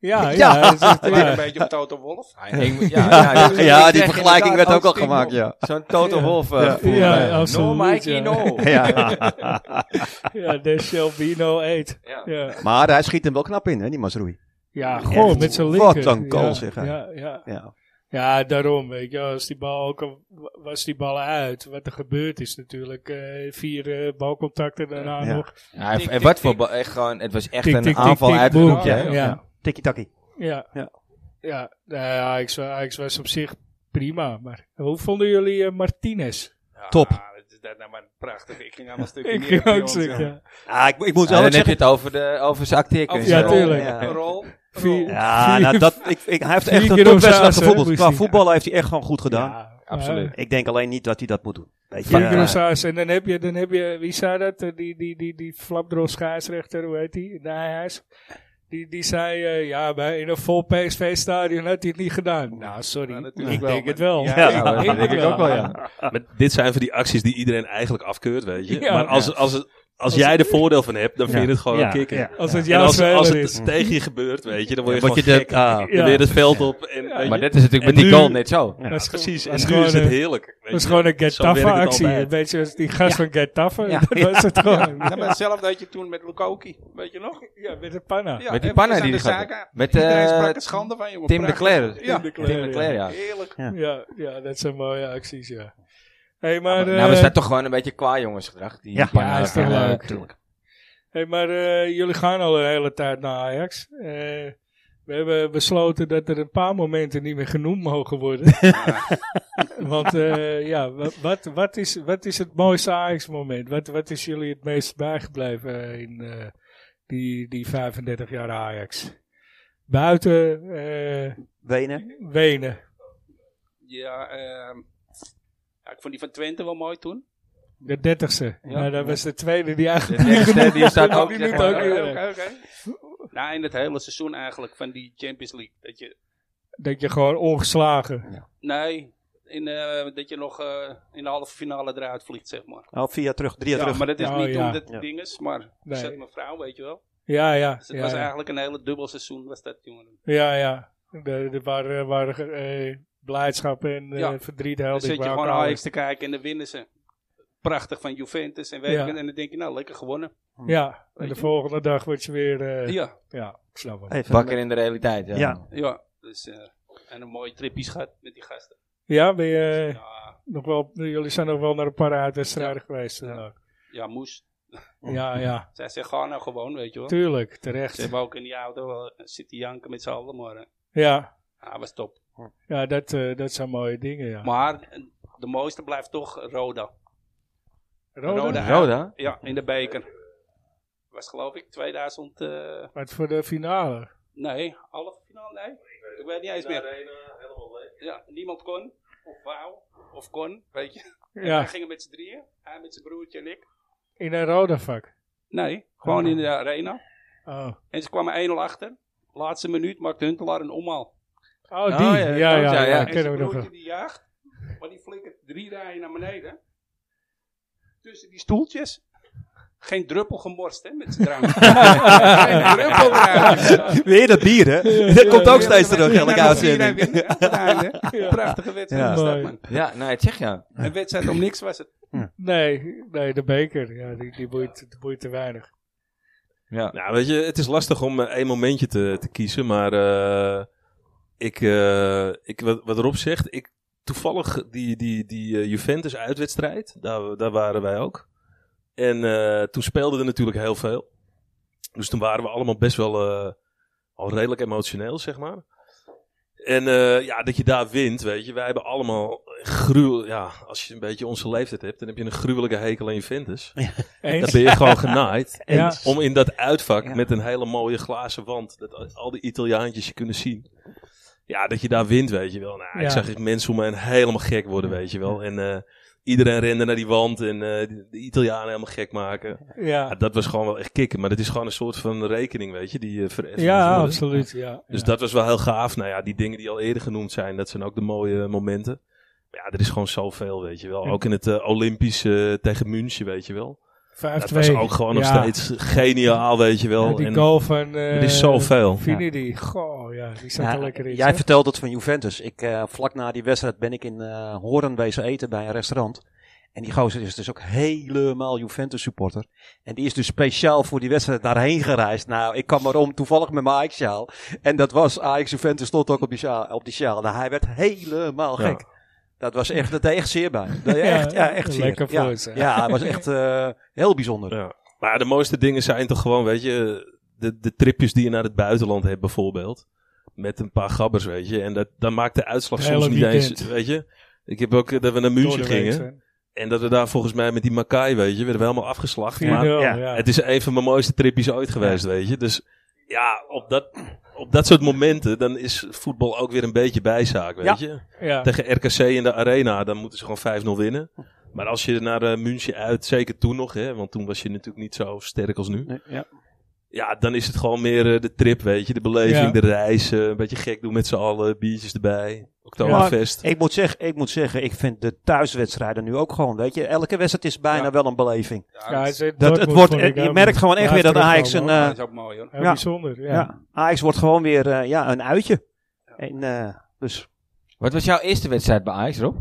S2: Ja, ja.
S3: Ja.
S2: dat is echt-
S4: Lijkt
S2: ja.
S4: een beetje op Toto Wolf.
S1: Ja, ik denk- ja, ja, ja,
S3: Ja,
S1: ik
S3: die
S1: zeg
S3: vergelijking
S1: inderdaad
S3: werd ook al
S1: Sting
S3: gemaakt,
S1: op.
S3: ja.
S1: Zo'n Toto
S2: Ja.
S1: Wolf. eh,
S3: Ja.
S1: voel,
S2: Ja,
S1: eh,
S2: absoluut,
S1: No, Mikey,
S2: ja.
S1: no.
S3: Ja.
S2: Ja, de Shelbino 8.
S1: Ja.
S2: Ja,
S3: Maar hij schiet hem wel knap in, hè, die Masroei.
S2: ja goh,
S3: Echt,
S2: met zijn
S3: wat
S2: linker.
S3: een goal,
S2: ja,
S3: zeg, hè.
S2: Ja, ja.
S3: Ja.
S2: ja, daarom. Weet je, als die bal ook al- was die bal uit. Wat er gebeurd is natuurlijk. eh, vier eh, balcontacten daarna
S3: Ja.
S2: nog.
S1: Ja, hij-
S4: Tik,
S1: en
S4: tik,
S1: wat voor
S4: tik.
S1: bal. echt gewoon, Het was echt
S2: Tik,
S1: een
S2: tik, tik,
S1: aanval
S2: tik,
S1: uit het
S2: boom.
S1: hoekje, hè.
S2: ja.
S3: Tikkie-takkie.
S2: Ja.
S3: Ja.
S2: Ja, nou ja Ajax, wa- Ajax was op zich prima. Maar hoe vonden jullie eh, Martinez?
S4: Ja,
S3: Top.
S4: dat Ah, is dat nou maar prachtig. Ik ging aan een stukje
S2: Ik
S4: neer,
S2: ging ook
S4: jongens,
S2: stuk,
S4: jongen.
S2: ja.
S3: Ah, ik, ik moet
S1: Ja, dan
S3: wel wat
S1: heb je
S3: zeggen.
S1: het over, de, over zijn acteerkunst.
S4: Over
S2: Ja,
S4: een
S1: eh.
S4: rol,
S2: tuurlijk.
S4: een Rol. een
S2: Vier-
S4: rol.
S3: Ja, nou, dat, ik, ik, hij heeft
S2: Vier
S3: echt een
S2: keer op zijn
S3: topwedstrijd
S2: as, hè,
S3: gevoetbald.
S2: moest
S3: Qua
S2: hij.
S3: voetballen heeft hij echt gewoon goed gedaan.
S2: Ja,
S1: Absoluut.
S2: maar-
S3: Ik denk alleen niet dat hij dat moet doen. Weet je,
S2: Vier
S3: eh,
S2: keer op Saas. En dan heb, je, dan heb je, wie zei dat? Eh, Die, die, die, die flapdrol scheidsrechter, hoe heet die? Nijhuis. Die, die zei, eh, ja, bij, in een vol PSV-stadion had hij het niet gedaan. Nou, sorry.
S4: Ja, natuurlijk
S2: ik
S4: wel,
S2: denk
S4: maar-
S2: het wel.
S4: Ja,
S1: Ja, dat denk ik ook wel, ja.
S5: Maar dit zijn van die acties die iedereen eigenlijk afkeurt, weet je.
S2: Ja.
S5: maar als,
S2: Ja.
S5: als, als, jij er voordeel van hebt, dan vind je het gewoon
S3: ja,
S5: een kicken.
S3: ja.
S2: Als het
S5: En
S2: jouw
S5: als, als
S2: speler
S5: het
S2: is.
S5: tegen je gebeurt, weet je, dan word je
S3: Word je
S5: gewoon
S3: de,
S5: gek.
S3: ah,
S5: En
S2: Ja.
S5: weer het veld op. En, weet je,
S1: Maar dat is natuurlijk met
S5: En
S1: die
S5: nu-
S1: goal net zo.
S5: ja,
S2: Dat is
S5: precies.
S2: gewoon-
S5: En
S2: dat is
S5: nu is
S2: gewoon
S5: het
S2: een-
S5: heerlijk. weet
S2: Dat is
S5: je.
S2: gewoon een
S5: Zo werkt het
S2: Getafe-actie.
S5: altijd.
S2: Een beetje als die gast van Getafe.
S3: Ja.
S2: Dat was het gewoon.
S4: Ja, maar hetzelfde had je toen met Lukoki. Weet je nog?
S2: Ja, met de panna.
S4: Ja,
S1: Ah, Met die
S4: even
S1: panna
S4: aan
S1: die
S4: de
S1: die gaat-
S4: Zaga.
S1: Met,
S4: Iedereen
S1: eh,
S4: sprak er schande van, jongen.
S1: Tim de
S4: Prachtig.
S1: Kler.
S4: Ja,
S2: de
S1: Tim de Kler, ja.
S4: heerlijk.
S2: Ja, ja, dat zijn mooie acties, ja. Hey, maar, eh
S1: Nou, we staan toch gewoon een beetje qua jongensgedrag. Die
S3: Ja.
S1: Panna-
S2: Ja, is toch
S1: eh,
S2: leuk.
S1: tuurlijk.
S2: hey, maar eh, jullie gaan al een hele tijd naar Ajax. Eh, We hebben besloten dat er een paar momenten niet meer genoemd mogen worden. Want eh, ja, wa- wat, wat, is, wat is het mooiste Ajax-moment? Wat, wat is jullie het meest bijgebleven eh, in eh, die, die 35 jaar Ajax? Buiten eh,
S3: Wenen.
S2: Wenen.
S4: Ja, ehm, ja, ik vond die van Twente wel mooi toen.
S2: De dertigste. Ja,
S4: Ja.
S2: dat was de tweede die eigenlijk...
S1: Die, die staat
S2: Ja,
S1: ook,
S2: die
S1: zeg
S2: doet
S1: maar,
S2: ook,
S1: eh,
S2: ja.
S4: Nou, in het hele seizoen eigenlijk van die Champions League. Dat je,
S2: Dat je gewoon ongeslagen.
S4: nee, in, eh, dat je nog eh, in de halve finale eruit vliegt, zeg maar.
S3: Oh, via terug, drie
S4: Ja,
S3: jaar terug.
S4: maar dat is
S2: Oh,
S4: niet
S2: ja.
S4: omdat het
S3: Ja.
S4: ding is, maar
S2: Nee.
S4: zet mijn vrouw, weet je wel.
S2: Ja, ja.
S4: Dus het
S2: ja,
S4: was
S2: ja.
S4: eigenlijk een hele dubbel seizoen, was dat, jongen.
S2: ja, ja. Er er waren, waren eh, blijdschap en eh
S4: Ja.
S2: verdriet
S4: Dan
S2: held
S4: zit
S2: ik
S4: je
S2: bij
S4: gewoon
S2: elkaar.
S4: Ajax te kijken en dan winnen ze. Prachtig van Juventus en weet
S2: Ja.
S4: ik het. En dan denk je, nou, lekker gewonnen.
S2: Ja, en
S4: Weet
S2: de
S4: je?
S2: volgende dag word je weer... eh, ja.
S4: Ja,
S2: ik snap hem.
S3: Even-
S1: Bakker in de realiteit, ja.
S3: Ja.
S4: ja. Dus, eh, en een mooie tripjes gehad met die gasten. Dus,
S2: Ja, ben je eh,
S4: Ja,
S2: nog wel, jullie zijn nog wel naar een paar uitwedstrijden geweest. toen ook.
S4: ja, moes.
S2: Ja, ja.
S4: Zij zeggen, ga nou gewoon, weet je wel.
S2: Tuurlijk,
S4: Ze
S2: terecht.
S4: hebben ook in die auto wel zitten janken met z'n allen, maar eh,
S2: Ja,
S4: ja, was top.
S2: ja dat, eh, dat zijn mooie dingen, ja.
S4: Maar eh, de mooiste blijft toch Roda.
S2: Roda?
S4: Roda.
S1: Roda?
S4: Ja, in de beker. Was geloof ik 2000... eh,
S2: Wat voor de finale.
S4: nee, halve finale, nee. Ik weet niet eens meer. Ja, niemand kon, of wou, of kon, weet je. Wij
S2: Ja,
S4: gingen met z'n drieën, hij met zijn broertje en ik.
S2: in een Roda vak.
S4: Nee, gewoon in de arena.
S2: Oh.
S4: En ze kwamen 1-0 achter. Laatste minuut maakte Huntelaar een omhaal.
S2: Oh, die.
S1: Oh,
S2: ja,
S1: ja,
S2: ja,
S1: dat
S2: ja,
S1: klopt, ja, ja.
S2: dat
S4: En
S2: kennen
S4: zijn
S2: we nog wel.
S4: broertje die jaagt, maar die flikkert drie rijen naar beneden. Tussen die stoeltjes. Geen druppel gemorst, hè, met z'n drank. Geen druppel eruit.
S3: Weer dat bier, hè? Dat komt ook steeds terug, elke uitzending.
S2: Ja.
S4: Prachtige wedstrijd.
S3: Ja.
S4: was dat,
S2: Mooi.
S4: man.
S1: Ja, nee, het zeg ja.
S4: Een wedstrijd om niks was het.
S2: Nee, nee, de beker. Ja, die, die, boeit, die boeit te weinig.
S1: ja.
S5: Nou, weet je, het is lastig om eh, één momentje te, te kiezen, maar eh, ik, eh, ik, wat, wat Rob zegt, ik, toevallig die, die, die eh, Juventus uitwedstrijd, daar, daar waren wij ook. En eh, toen speelden er natuurlijk heel veel. Dus toen waren we allemaal best wel eh, al redelijk emotioneel, zeg maar. En eh, ja, dat je daar wint, weet je. Wij hebben allemaal gruwel... Ja, als je een beetje onze leeftijd hebt, dan heb je een gruwelijke hekel aan Juventus. Dan
S2: Eens?
S5: ben je gewoon genaaid.
S2: Ja.
S5: En Om in dat uitvak
S3: Ja.
S5: met een hele mooie glazen wand, dat al die Italiaantjes je kunnen zien. Ja, dat je daar wint, weet je wel. Nou,
S2: Ja.
S5: Ik zag echt mensen om me heen helemaal gek worden, weet je wel. En eh, iedereen rende naar die wand en eh, de Italianen helemaal gek maken. Ja,
S2: Ja,
S5: dat was gewoon wel echt kicken. Maar dat is gewoon een soort van rekening, weet je, die eh vereffend moet
S2: ja
S5: worden.
S2: absoluut. Ja,
S5: Dus
S2: ja.
S5: dat was wel heel gaaf. Nou ja, die dingen die al eerder genoemd zijn, dat zijn ook de mooie momenten. Maar ja, er is gewoon zoveel, weet je wel.
S2: Ja.
S5: Ook in het eh, Olympische tegen München, weet je wel. Dat was
S2: 5-2.
S5: ook gewoon nog
S2: Ja,
S5: steeds geniaal, weet je wel.
S2: ja, die
S5: En
S2: goal van... eh
S5: er is zoveel.
S2: Vini die. Goh, ja, die zat
S3: Ja,
S2: er lekker in.
S3: jij
S2: zeg.
S3: vertelt het van Juventus. Ik, eh, vlak na die wedstrijd ben ik in eh Hoorn wezen eten bij een restaurant. En die gozer is dus ook helemaal Juventus supporter. En die is dus speciaal voor die wedstrijd daarheen gereisd. Nou, ik kwam erom toevallig met mijn Ajax sjaal. En dat was Ajax Juventus stond ook op die sjaal. Op die sjaal. Nou, hij werd helemaal
S5: Ja.
S3: gek. Dat was echt, dat deed echt zeer bij. hem. Dat deed echt, ja, echt zeer.
S2: Lekker
S3: ja.
S2: voor ze.
S3: Ja, het was echt eh, heel bijzonder.
S5: Ja. Maar de mooiste dingen zijn toch gewoon, weet je, de, de tripjes die je naar het buitenland hebt bijvoorbeeld. Met een paar gabbers, weet je. En dat, dan maakt de uitslag
S2: Het
S5: soms
S2: hele
S5: niet eens,
S2: weekend.
S5: weet je. Ik heb ook eh, dat we naar
S2: Door
S5: München
S2: de week,
S5: gingen. En dat we daar volgens mij met die Makai, weet je, werden we helemaal afgeslacht.
S2: hè. 4-0,
S5: Maar
S2: ja.
S3: ja,
S5: het is een van mijn mooiste tripjes ooit geweest, weet je. Dus ja, op dat, op dat soort momenten, dan is voetbal ook weer een beetje bijzaak, weet je.
S2: ja.
S5: Tegen RKC in de arena, dan moeten ze gewoon 5-0 winnen. Maar als je naar eh, München uit, zeker toen nog, hè, want toen was je natuurlijk niet zo sterk als nu.
S3: Nee, ja.
S5: Ja, dan is het gewoon meer eh, de trip, weet je. De beleving,
S2: Ja.
S5: de reis, eh, een beetje gek doen met z'n allen, biertjes erbij, Oktoberfest.
S3: Ik moet, zeggen, ik moet zeggen, ik vind de thuiswedstrijden nu ook gewoon, weet je, elke wedstrijd is bijna wel een beleving.
S2: Ja, het- het
S3: Dat, het
S2: Dortmund
S3: wordt,
S2: vond ik
S3: je
S2: ook
S3: merkt
S2: niet.
S3: gewoon echt
S2: Blijft
S3: weer dat
S2: terugkomen,
S3: Ajax een,
S2: hoor.
S4: Ja,
S3: eh,
S4: dat is ook mooi, hoor.
S2: Heel
S3: ja.
S2: bijzonder, ja.
S3: ja, Ajax wordt gewoon weer eh, ja, een uitje. En, eh, dus
S1: Wat was jouw eerste wedstrijd bij Ajax, Rob?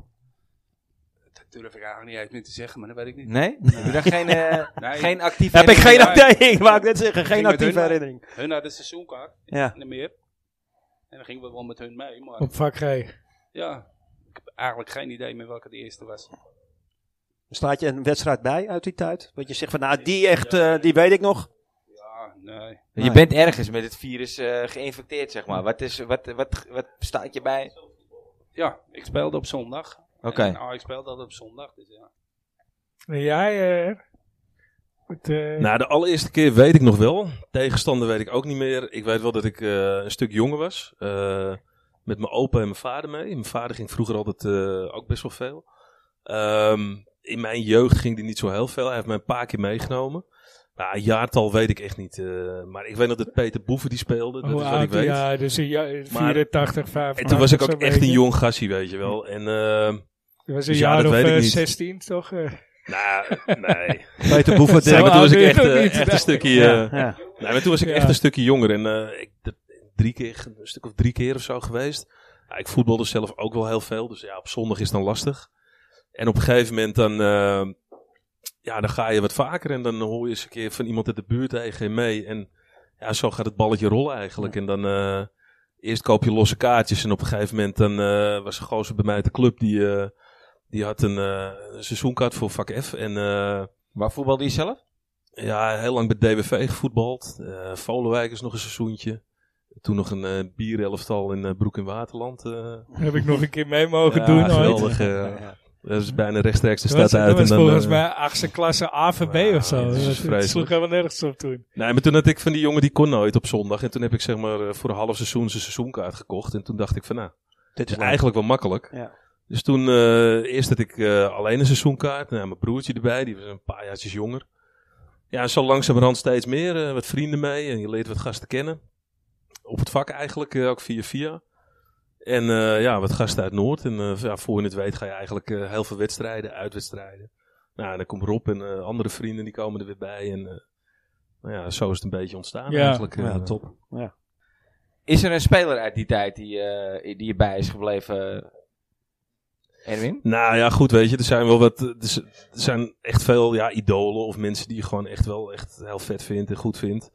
S4: Dat durf ik eigenlijk niet eens meer te zeggen, maar dat weet ik niet.
S1: Nee? Heb je daar geen, eh,
S4: Nee.
S1: geen actief...
S3: heb ik geen
S4: Ja,
S3: idee, ik wou ik net zeggen, geen
S4: Ging met
S3: actieve
S4: hun, maar-
S3: herinnering.
S4: Hun hadden seizoenkaart
S3: Ja.
S4: en meer. En dan gingen we wel met hun mee, maar
S2: Op vak G.
S4: ja, ik heb eigenlijk geen idee meer welke de eerste was.
S3: Staat je een wedstrijd bij uit die tijd? Wat je zegt van, nou die echt, eh, die weet ik nog.
S4: Ja, nee.
S1: Je bent ergens met het virus eh, geïnfecteerd, zeg maar. Wat, is, wat, wat, wat staat je bij?
S4: Ja, ik speelde op zondag.
S1: Oké.
S4: Nou, ik speelde altijd op zondag, dus ja.
S2: En jij, eh het, eh,
S5: Nou, de allereerste keer weet ik nog wel. Tegenstander weet ik ook niet meer. Ik weet wel dat ik eh, een stuk jonger was. eh, met mijn opa en mijn vader mee. Mijn vader ging vroeger altijd eh, ook best wel veel. Ehm, in mijn jeugd ging die niet zo heel veel. Hij heeft mij een paar keer meegenomen. Nou, jaartal weet ik echt niet. eh, maar ik weet nog dat Peter Boeven die speelde. Dat
S2: hoe
S5: is wat ik
S2: oud?
S5: weet.
S2: Ja, dus een ja, 84, 85.
S5: En toen was ik ook
S2: zo'n
S5: echt een
S2: beetje.
S5: jong gassie, weet je wel. En ehm,
S2: Je was een
S5: Dus ja,
S2: jaar
S5: dat
S2: of
S5: weet ik
S2: eh,
S5: niet.
S2: 16, toch? eh?
S5: Nou, nee. Peter Boeven,
S2: Zo
S5: nee, maar toen was
S2: oud
S5: ik
S2: ben je
S5: echt,
S2: nog
S5: eh,
S2: niet,
S5: echt
S2: nee.
S5: een stukje...
S3: Ja,
S5: eh,
S3: ja.
S5: nee, maar toen was ik
S2: Ja.
S5: echt een stukje jonger. En eh, ik, d- drie keer, een stuk of drie keer of zo geweest. Ja, ik voetbalde zelf ook wel heel veel. Dus ja, op zondag is het dan lastig. En op een gegeven moment dan... eh, ja, dan ga je wat vaker. En dan hoor je eens een keer van iemand uit de buurt tegen je mee. En ja, zo gaat het balletje rollen eigenlijk. En dan... eh, Eerst koop je losse kaartjes en op een gegeven moment dan, eh, was een gozer bij mij uit de club die, eh, die had een, eh, een seizoenkaart voor vak F. En eh,
S1: Waar voetbalde je zelf?
S5: ja, heel lang bij DWV gevoetbald. Eh Volendijk is nog een seizoentje. Toen nog een eh bierelftal in eh, Broek in Waterland. eh.
S2: Heb ik nog een keer mee mogen
S5: Ja,
S2: doen ooit.
S5: geweldig. eh. dat is bijna rechtstreeks de stad
S2: dat was,
S5: uit.
S2: dat was
S5: en dan,
S2: volgens
S5: eh,
S2: mij achtste klasse A van B
S5: Ja,
S2: of zo.
S5: dat is
S2: Dat- Dat
S5: vreselijk.
S2: sloeg helemaal nergens op toen.
S5: Nee, maar toen had ik van die jongen die kon nooit op zondag. En toen heb ik zeg maar eh, voor een half seizoen zijn seizoenkaart gekocht. En toen dacht ik van nou,
S3: Dit
S5: Het
S3: is
S5: is
S3: eigenlijk...
S5: eigenlijk wel makkelijk.
S3: Ja.
S5: Dus toen, eh, eerst had ik eh, alleen een seizoenkaart. Nou, mijn broertje erbij, die was een paar jaartjes jonger. Ja, zo langzamerhand steeds meer. eh, wat vrienden mee en je leert wat gasten kennen. Op het vak eigenlijk, eh, ook via via. En eh, ja, wat gasten uit Noord. En eh, ja, voor je het weet ga je eigenlijk eh, heel veel wedstrijden, uitwedstrijden. Nou, en dan komt Rob en eh, andere vrienden die komen er weer bij. En eh, nou ja, zo is het een beetje ontstaan
S2: Ja.
S5: eigenlijk. eh.
S3: Ja, top.
S1: Is er een speler uit die tijd die, eh, die je bij is gebleven? Erwin?
S5: Nou ja, goed, weet je, er zijn wel wat. Er z- er zijn echt veel ja, idolen of mensen die je gewoon echt wel echt heel vet vindt en goed vindt.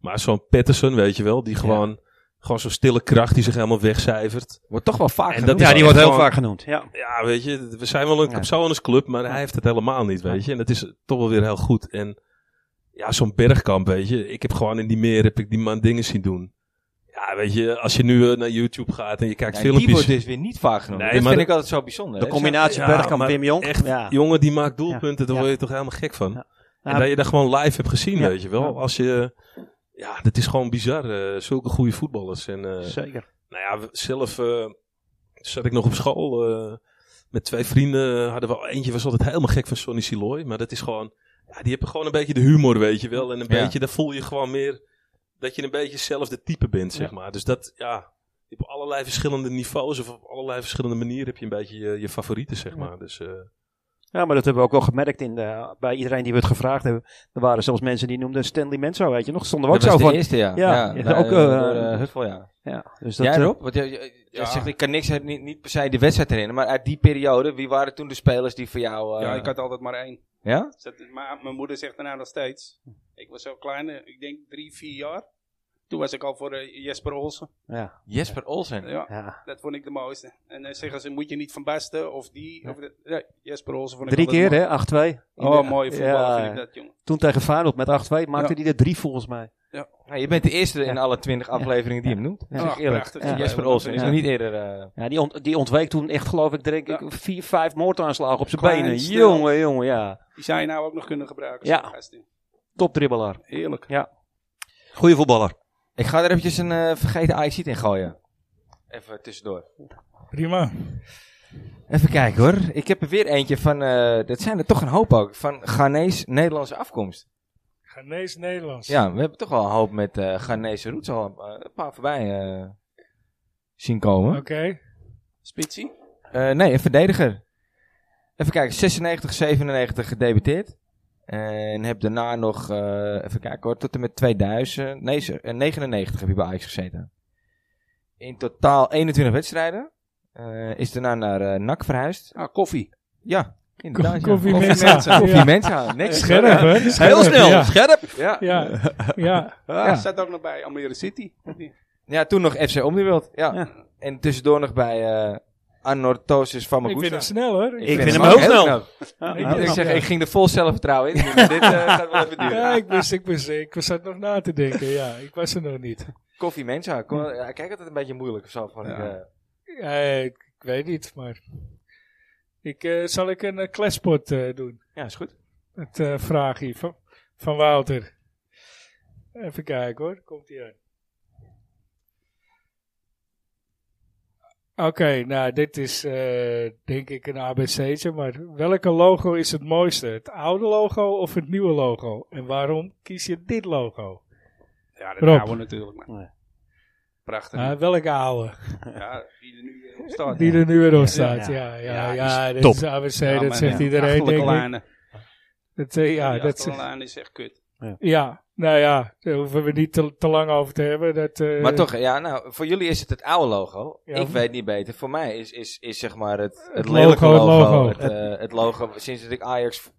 S5: Maar zo'n Patterson, weet je wel, die gewoon, gewoon zo'n stille kracht die zich helemaal wegcijfert.
S1: Wordt toch wel vaak
S5: En
S1: genoemd.
S5: dat-
S3: Ja, die wordt heel
S5: Gewoon-
S3: vaak genoemd. Ja.
S5: Ja, weet je, we zijn wel een
S3: Ja.
S5: Capsoanus-club, maar hij heeft het helemaal niet, weet je. En dat is toch wel weer heel goed. En ja, zo'n bergkamp, weet je. Ik heb gewoon in die meer, heb ik die man dingen zien doen. Ja, weet je, als je nu eh, naar YouTube gaat en je kijkt
S1: Ja, die
S5: filmpjes.
S1: wordt dus weer niet vaak genoemd.
S5: Nee,
S1: dat
S5: maar
S1: vind
S5: de-
S1: ik altijd zo bijzonder.
S3: De
S1: hè?
S3: combinatie
S5: Ja,
S3: Bergkamp,
S5: maar
S3: Wim Jong.
S5: Echt,
S3: ja.
S5: jongen die maakt doelpunten, daar
S3: Ja.
S5: word je toch helemaal gek van.
S3: Ja.
S5: en
S3: Nou,
S5: dat je dat gewoon live hebt gezien,
S3: ja.
S5: weet je wel.
S3: Ja.
S5: Als je, ja, dat is gewoon bizar. eh, zulke goede voetballers. En, eh,
S3: Zeker.
S5: nou ja, we- zelf eh, zat ik nog op school. eh, met twee vrienden eh, hadden we, eentje was altijd helemaal gek van Sonny Siloy. Maar dat is gewoon, ja, die hebben gewoon een beetje de humor, weet je wel. En een
S1: Ja.
S5: beetje, daar voel je gewoon meer dat je een beetje zelf de type bent, zeg maar. Dus dat, ja, op allerlei verschillende niveaus of op allerlei verschillende manieren heb je een beetje je, je favorieten, zeg maar. Dus, eh,
S3: Ja, maar dat hebben we ook wel gemerkt in de, bij iedereen die we het gevraagd hebben. Er waren zelfs mensen die noemden Stanley Menzo, weet je nog. Stonden we ook
S1: Dat was
S3: zo
S1: de
S3: van.
S1: eerste, ja.
S3: Ja,
S1: ja,
S3: ja,
S1: bij-
S3: ook, eh,
S1: door, eh, Huffel, ja.
S3: Ja, dus dat,
S1: Jij
S3: eh,
S1: Rob? Want je, je- je
S4: Ja.
S1: zegt, ik kan niks, uit- niet, niet per se de wedstrijd herinneren, maar uit die periode, wie waren toen de spelers die voor jou... eh,
S4: Ja, ik had altijd maar één.
S1: ja?
S4: Zet- Maar mijn moeder zegt daarna nog steeds. Ik was zo klein, eh, ik denk drie, vier jaar. Toen was ik al voor eh, Jesper Olsen.
S3: ja,
S1: Jesper Olsen.
S4: Ja,
S3: ja.
S4: dat vond ik de mooiste. En dan zeggen ze, moet je niet van Basten of die. Of dat. Nee, Jesper Olsen vond ik
S3: Drie
S4: altijd
S3: keer, hè? 8-2.
S4: mooi. Oh, mooie voetbal
S3: Ja,
S4: vind ik dat, jongen.
S3: Toen tegen Feyenoord met 8-2 maakte
S4: Ja.
S3: hij er drie volgens mij.
S1: Nou, je bent de eerste in
S3: Ja.
S1: alle twintig afleveringen die hem noemt.
S3: Ja.
S1: Zeg
S4: Ach,
S1: eerlijk.
S4: prachtig.
S3: Ja.
S4: Ja,
S1: Jesper
S4: ja,
S1: Olsen is
S3: ja.
S1: nog niet eerder... eh,
S3: Ja, die, ont- die ontweek toen echt, geloof ik, denk ik,
S4: Ja.
S3: vier, vijf moordaanslagen op zijn
S4: Klein,
S3: benen.
S4: snel.
S3: Jongen, jongen, ja.
S4: Die zou je nou ook nog kunnen gebruiken.
S3: Ja.
S4: zo'n gast.
S3: Topdribbelaar.
S4: Heerlijk.
S3: Goeie voetballer.
S1: ik ga er eventjes een eh, vergeten IC in gooien. Even tussendoor.
S2: Prima.
S1: Even kijken hoor. Ik heb er weer eentje van, eh, dat zijn er toch een hoop ook, van Ghanese Nederlandse afkomst.
S2: Ghanese Nederlands.
S1: Ja, we hebben toch wel een hoop met eh Ghanese roots al eh, een paar voorbij eh, zien komen.
S2: Oké.
S4: Spitsie.
S1: Eh, nee, een verdediger. Even kijken, 96, 97 gedebuteerd. En heb daarna nog, eh, even kijken hoor, tot en met 2000, nee, ze- eh, 99 heb je bij Ajax gezeten. In totaal 21 wedstrijden. Eh, is daarna naar eh NAC verhuisd.
S4: Ah, koffie.
S1: Ja, inderdaad. ja.
S2: Koffie
S1: Koffie
S2: Mensa.
S1: Mensa.
S2: Ja.
S1: Koffie Mensa, niks.
S2: Scherp, hè? Scherp,
S3: Heel snel,
S2: Ja,
S3: scherp.
S1: Ja.
S2: ja. ja.
S4: Ah,
S1: Ja.
S4: Zat ook nog bij Almere City.
S1: ja, toen nog FC Omniworld. Ja.
S3: Ja.
S1: En tussendoor nog bij eh Anorthosis
S2: Ik vind hem
S1: Famagusta.
S2: snel hoor.
S3: Ik vind hem
S1: ook
S3: heel snel.
S2: Ik-
S1: Ik,
S2: ik
S1: zeg,
S2: ja.
S1: ik ging er vol zelfvertrouwen in. maar dit eh, gaat wel even duren.
S2: Ja, ik, wist, ik, wist, ik zat nog na te denken. Ja, ik was er nog niet.
S1: Koffie Mensa. Kom, ja, kijk altijd een beetje moeilijk of zo. Van,
S5: Ja.
S1: eh,
S2: Ja, ik, ik weet niet, maar... Ik, eh, zal ik een eh, klespot eh, doen?
S1: ja, is goed.
S2: Het eh, vraagje van, van Wouter. Even kijken hoor, komt hij aan. Oké, nou dit is eh, denk ik een ABC'tje, maar welke logo is het mooiste? Het oude logo of het nieuwe logo? En waarom kies je dit logo?
S4: Ja, dat
S2: Rob.
S4: houden we natuurlijk.
S3: Nee.
S4: Maar. Prachtig.
S2: Ah, welke oude?
S4: ja, die er nu eh, op staat.
S2: Die er nu weer op staat. Ja,
S3: Ja.
S2: ja, ja,
S4: Ja,
S2: dit
S3: top.
S2: is ABC,
S4: Ja,
S2: dat
S4: maar
S2: zegt
S4: die
S2: iedereen denk ik.
S4: achterlijke lijnen.
S2: Dat, eh, ja,
S4: Die
S2: dat zegt-
S4: achterlijnen is echt kut.
S2: Ja, nou ja, daar hoeven we niet te, te lang over te hebben. Dat, eh,
S1: Maar toch, ja, nou, voor jullie is het het oude logo.
S2: Ja.
S1: ik weet niet beter. Voor mij is, is, is zeg maar het, het
S2: Het
S1: lelijke
S2: logo, het
S1: logo.
S2: logo.
S1: Het, eh, het logo. Sinds dat ik Ajax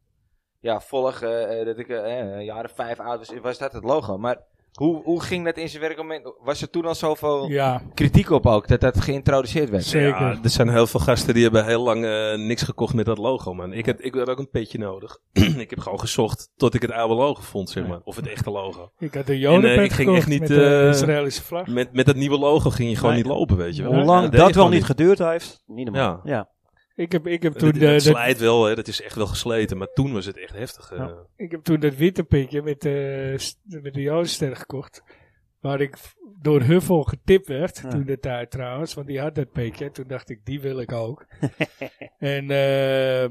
S1: ja, volg, eh, eh, dat ik eh, eh, jaren vijf oud was, was dat het logo. Maar hoe, hoe ging dat in zijn werk? om- Was er toen al zoveel
S2: Ja,
S1: kritiek op ook, dat dat geïntroduceerd werd?
S2: zeker.
S5: Ja, er zijn heel veel gasten die hebben heel lang eh, niks gekocht met dat logo, man. Ik had, ik had ook een petje nodig. ik heb gewoon gezocht tot ik het oude logo vond, zeg maar. Of het echte logo.
S2: Ik had een jodenpet
S5: En, eh, ik ging
S2: gekocht
S5: echt niet,
S2: met de
S5: eh,
S2: Israëlische vlag.
S5: Met, met dat nieuwe logo ging je gewoon
S3: Nee.
S5: niet lopen, weet je wel.
S3: Hoe
S5: Ja,
S3: lang
S5: deed je
S3: dat wel
S5: gewoon
S3: niet geduurd heeft, niet normaal. Ja.
S2: Ik heb, ik, heb toen,
S5: Het,
S2: eh,
S5: het
S2: dat,
S5: slijt wel, hè. dat is echt wel gesleten. Maar toen was het echt heftig. eh.
S3: Ja.
S2: ik heb toen dat witte pitje met, eh, st- met de jodenster gekocht. Waar ik f- door Huffel getipt werd,
S3: Ja.
S2: toen de tijd trouwens. Want die had dat pitje. Toen dacht ik, die wil ik ook. en eh,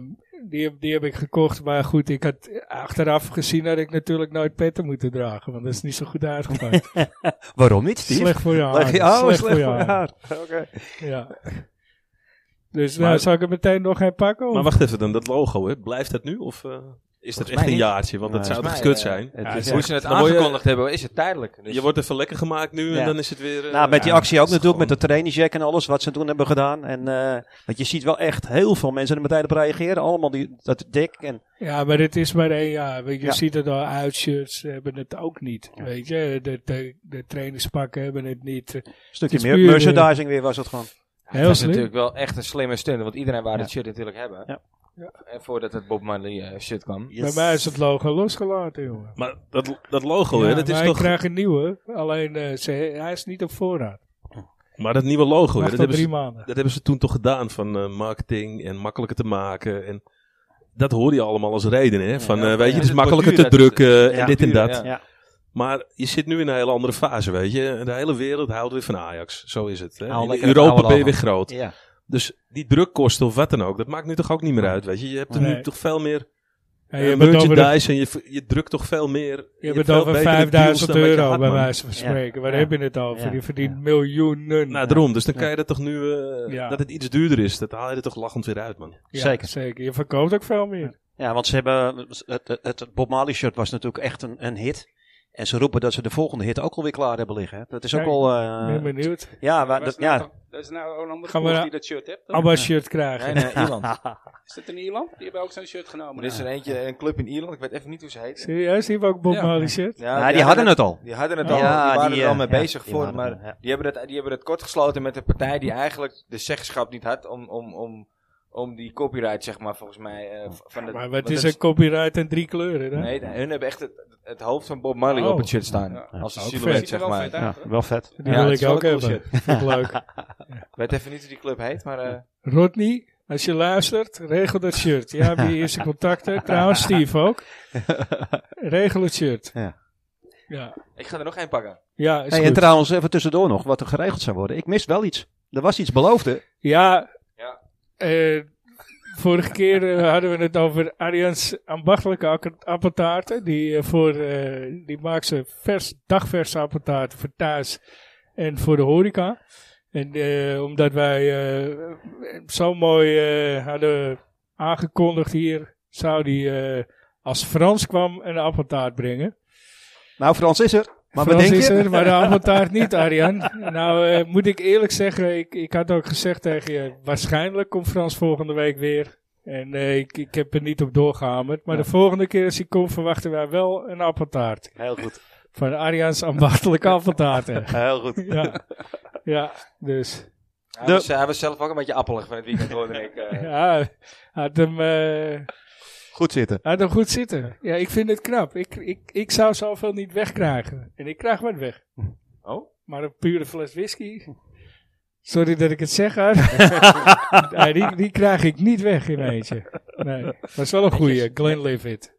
S2: die, heb- die heb ik gekocht. Maar goed, ik had achteraf gezien dat ik natuurlijk nooit petten moeten dragen. Want dat is niet zo goed uitgepakt.
S3: Waarom niet, Steve?
S2: slecht voor je
S3: Leg
S2: haren.
S3: je- oh,
S2: slecht voor je
S3: haar.
S2: haren.
S3: Oké.
S2: Ja. Dus
S5: Maar-
S2: nou, zou ik het meteen nog gaan pakken? Of?
S5: Maar wacht even, dan dat logo, hè. blijft dat nu? Of eh, is dat
S1: Volgens
S5: echt
S1: mij
S5: een
S1: niet.
S5: jaartje? Want dat
S3: Nee,
S5: zou toch
S1: volgens
S5: kut
S1: mij,
S5: zijn?
S1: Ja,
S3: eh, Het is
S1: hoe ze het
S5: Dan word je-
S1: aangekondigd hebben, is het tijdelijk. Dus
S5: Je wordt even lekker gemaakt nu en
S3: Ja.
S5: dan is het weer... eh,
S3: Nou, met die
S5: ja,
S3: actie ook
S5: het
S3: natuurlijk,
S5: is
S3: met
S5: gewoon-
S3: de trainingsjack en alles wat ze toen hebben gedaan. En, eh, want je ziet wel echt heel veel mensen er meteen op reageren. Allemaal die, dat dik. En,
S2: Ja, maar het is maar één jaar. Weet je,
S3: Ja.
S2: je ziet het al, uitshirts hebben het ook niet. Weet je, de, de, de trainerspakken hebben het niet.
S3: stukje
S2: Het is
S3: meer
S2: puur, eh,
S3: merchandising weer was het gewoon.
S2: Heel
S1: dat is
S2: slim.
S1: natuurlijk wel echt een slimme stunt, want iedereen wou het
S3: Ja.
S1: shit natuurlijk hebben.
S3: Ja.
S1: En voordat het Bob Marley eh, shit kwam.
S2: Bij mij is het logo losgelaten, jongen.
S5: Maar dat, dat logo, hè,
S2: Ja,
S5: dat is
S2: maar
S5: toch...
S2: ik krijg een nieuwe, alleen eh, ze, hij is niet op voorraad.
S5: Maar dat nieuwe logo, hè,
S2: Wacht
S5: dat
S2: al
S5: hebben
S2: drie
S5: ze
S2: maanden.
S5: Dat hebben ze toen toch gedaan van eh, marketing en makkelijker te maken. En dat hoorde je allemaal als reden. Hè? Van,
S1: ja,
S5: eh,
S1: ja.
S5: weet je, het
S1: Dus
S5: is
S1: het
S5: makkelijker te
S1: wordt duurder,
S5: drukken en
S3: Ja,
S5: dit en
S1: duurder,
S5: dat.
S1: ja.
S3: Ja.
S5: Maar je zit nu in een hele andere fase, weet je. De hele wereld houdt weer van Ajax. Zo is het. Hè?
S3: Haal
S5: In
S3: lekker het oude
S5: Europa ben je
S3: logo.
S5: weer groot.
S3: Ja.
S5: Dus die drukkosten of wat dan ook, dat maakt nu toch ook niet meer uit, weet je. Je hebt er
S2: Nee.
S5: nu toch veel meer
S2: Ja,
S5: eh,
S2: je hebt het over, de-
S5: merchandise en je, v- je drukt toch veel
S2: je
S5: meer.
S2: hebt
S5: hebt
S2: het
S5: veel
S2: over
S5: betere deals
S2: 5000
S5: dan wat je
S2: euro,
S5: had,
S2: bij
S5: man.
S2: wijze van spreken. Waar
S3: Ja.
S2: heb je het over?
S3: Ja.
S2: Die verdient
S3: Ja.
S2: miljoenen.
S5: Nou, daarom. Dus dan kan je dat toch nu, eh,
S2: Ja.
S5: dat het iets duurder is. Dat haal je er toch lachend weer uit, man.
S2: Ja,
S3: Zeker.
S2: zeker. Je verkoopt ook veel meer.
S3: Ja, want ze hebben, het, het, het Bob Marley shirt was natuurlijk echt een, een hit. En ze roepen dat ze de volgende hit ook alweer klaar hebben liggen. hè. Dat is ook
S2: Kijk,
S3: al,
S2: Ik
S3: eh,
S2: ben benieuwd.
S3: ja,
S4: Dat
S3: maar,
S4: is,
S3: dat,
S4: nou,
S3: ja,
S4: toch- dat is nou een andere
S2: Gaan we
S4: ploeg
S2: naar-
S4: die dat shirt hebt. toch?
S2: Abba-shirt krijgen.
S1: Nee, nee, Ierland.
S4: Is dat in Ierland? Die hebben ook zo'n shirt genomen.
S1: Er is er eentje, een club in Ierland, ik weet even niet hoe ze heet.
S2: Serieus, die hebben ook Bob
S4: Ja.
S2: Marley shirt?
S1: Ja,
S3: Ja, die hadden het al.
S1: Die hadden het
S3: Ja,
S1: al, die waren
S3: die,
S1: er al
S3: eh,
S1: mee
S3: ja,
S1: bezig
S3: die
S1: voor,
S3: waren
S1: maar
S3: er, ja.
S1: die, hebben dat, die hebben dat kortgesloten met een partij die eigenlijk de zeggenschap niet had om, om, om, om die copyright, zeg maar, volgens mij. eh, v- van het-
S2: Maar
S1: want
S2: wat is
S1: dat
S2: een copyright en drie kleuren? Hè?
S1: Nee, hun hebben echt het, het hoofd van Bob Marley
S2: Oh.
S1: op het shirt staan.
S4: Ja.
S1: Als een
S2: Ook
S1: silhouet,
S2: vet.
S1: zeg maar. Ik
S3: ja, wel vet.
S1: Ja,
S2: Die wil
S1: het is
S2: ik
S1: wel
S2: ook
S1: een cool
S2: hebben. Vind ik leuk.
S1: weet even niet hoe die club heet, maar... eh,
S2: Rodney, als je luistert, regel dat shirt. Ja, heb je eerste contacten. Trouwens, Steve ook. Regel het shirt.
S3: Ja.
S2: Ja,
S1: ik ga er nog één pakken.
S2: ja is
S3: Hey, en
S2: goed.
S3: trouwens, even tussendoor nog, wat er geregeld zou worden. Ik mis wel iets. Er was iets beloofd, hè?
S2: Ja,
S1: Ja.
S2: eh, vorige keer eh, hadden we het over Arians ambachtelijke ak- appeltaarten. Die, eh, voor, eh, die maakt ze vers, dagverse appeltaarten voor thuis en voor de horeca. En eh, omdat wij eh, zo mooi eh, hadden aangekondigd hier, zou die eh, als Frans kwam een appeltaart brengen.
S3: Nou, Frans is er. Maar wat
S2: Frans
S3: denk
S2: is
S3: je?
S2: er, maar de appeltaart niet, Arjan. Nou, eh, moet ik eerlijk zeggen, ik, ik had ook gezegd tegen je, waarschijnlijk komt Frans volgende week weer. En eh, ik, ik heb er niet op doorgehamerd. Maar de volgende keer als hij komt, verwachten wij wel een appeltaart.
S3: Heel goed.
S2: Van Arjans ambachtelijke appeltaarten.
S3: Heel goed.
S2: Ja, ja dus.
S1: Hij,
S3: De-
S1: was, hij was zelf ook een beetje appelig van het weekend, hoorde ik. eh.
S2: Ja, had hem, eh,
S3: Goed zitten.
S2: had hem goed zitten. Ja, ik vind het knap. Ik, ik, ik zou zoveel niet wegkrijgen. En ik krijg wat weg.
S1: Oh?
S2: Maar een pure fles whisky. Sorry dat ik het zeg, Ar. Nee, die, die krijg ik niet weg in mijn eentje. Nee, was wel een goeie. Glenlivet.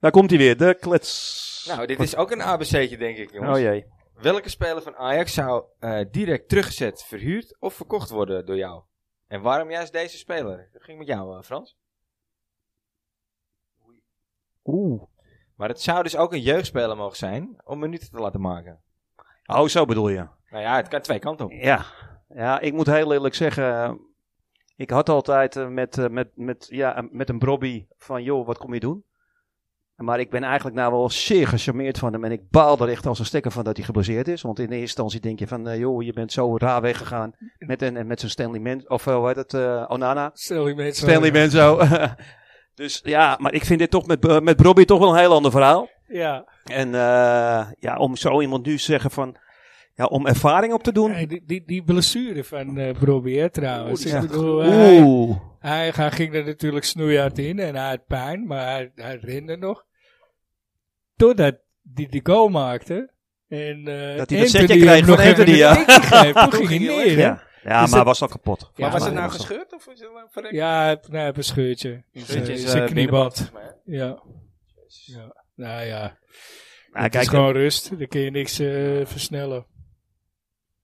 S3: Daar komt hij weer, de klets.
S1: Nou, dit is ook een ABC'tje, denk ik, jongens.
S3: oh jee.
S1: Welke speler van Ajax zou eh, direct teruggezet, verhuurd of verkocht worden door jou? En waarom juist deze speler? Dat ging met jou, eh, Frans.
S3: Oeh.
S1: Maar het zou dus ook een jeugdspeler mogen zijn om minuten te laten maken.
S3: Oh, zo bedoel je.
S1: Nou ja, het kan twee kanten op.
S3: Ja. Ja, ik moet heel eerlijk zeggen. eh, Ik had altijd eh, met, eh, met, met, ja, eh, met een brobby van, joh, wat kom je doen? Maar ik ben eigenlijk nou wel zeer gecharmeerd van hem. En ik baal er echt als een stekker van dat hij geblesseerd is. Want in eerste instantie denk je van, eh, joh, je bent zo raar weggegaan met, een, met zijn Stanley Menzo. Of eh, hoe heet het? eh, Onana.
S2: Stanley Menzo.
S3: Stanley Menzo. dus ja, maar ik vind dit toch met, eh, met Brobby toch wel een heel ander verhaal.
S2: Ja.
S3: En eh, ja, om zo iemand nu te zeggen van, ja, om ervaring op te doen.
S2: Nee, die, die, die blessure van eh Brobbey, hè, trouwens.
S3: Oeh,
S2: Ik
S3: die is
S2: bedoel, hij-
S3: Oeh.
S2: Hij, hij ging er natuurlijk snoeihard in en hij had pijn, maar hij, hij rende nog. Totdat hij die goal maakte. En, eh,
S3: Dat hij dat
S2: Anthony
S3: zetje kreeg
S2: hem
S3: van
S2: nog even
S3: Anthony,
S2: een
S3: ja.
S2: tikje geeft. Toen ging hij
S4: ging hij
S2: neer. hè?
S3: Ja, ja
S2: Is
S3: maar
S2: het-
S3: was al kapot.
S2: Ja,
S4: maar was het
S2: maar-
S4: nou gescheurd of is het nou verrekt?
S2: Ja, hij heeft- nee, hij heeft een scheurtje. in zijn-
S1: Puntje is,
S2: in zijn
S1: eh,
S2: knieband.
S1: binnenband, maar, hè?
S2: Ja. ja. Nou ja,
S3: Nou,
S2: het
S3: kijk,
S2: is gewoon rust. Dan kun je niks eh, versnellen.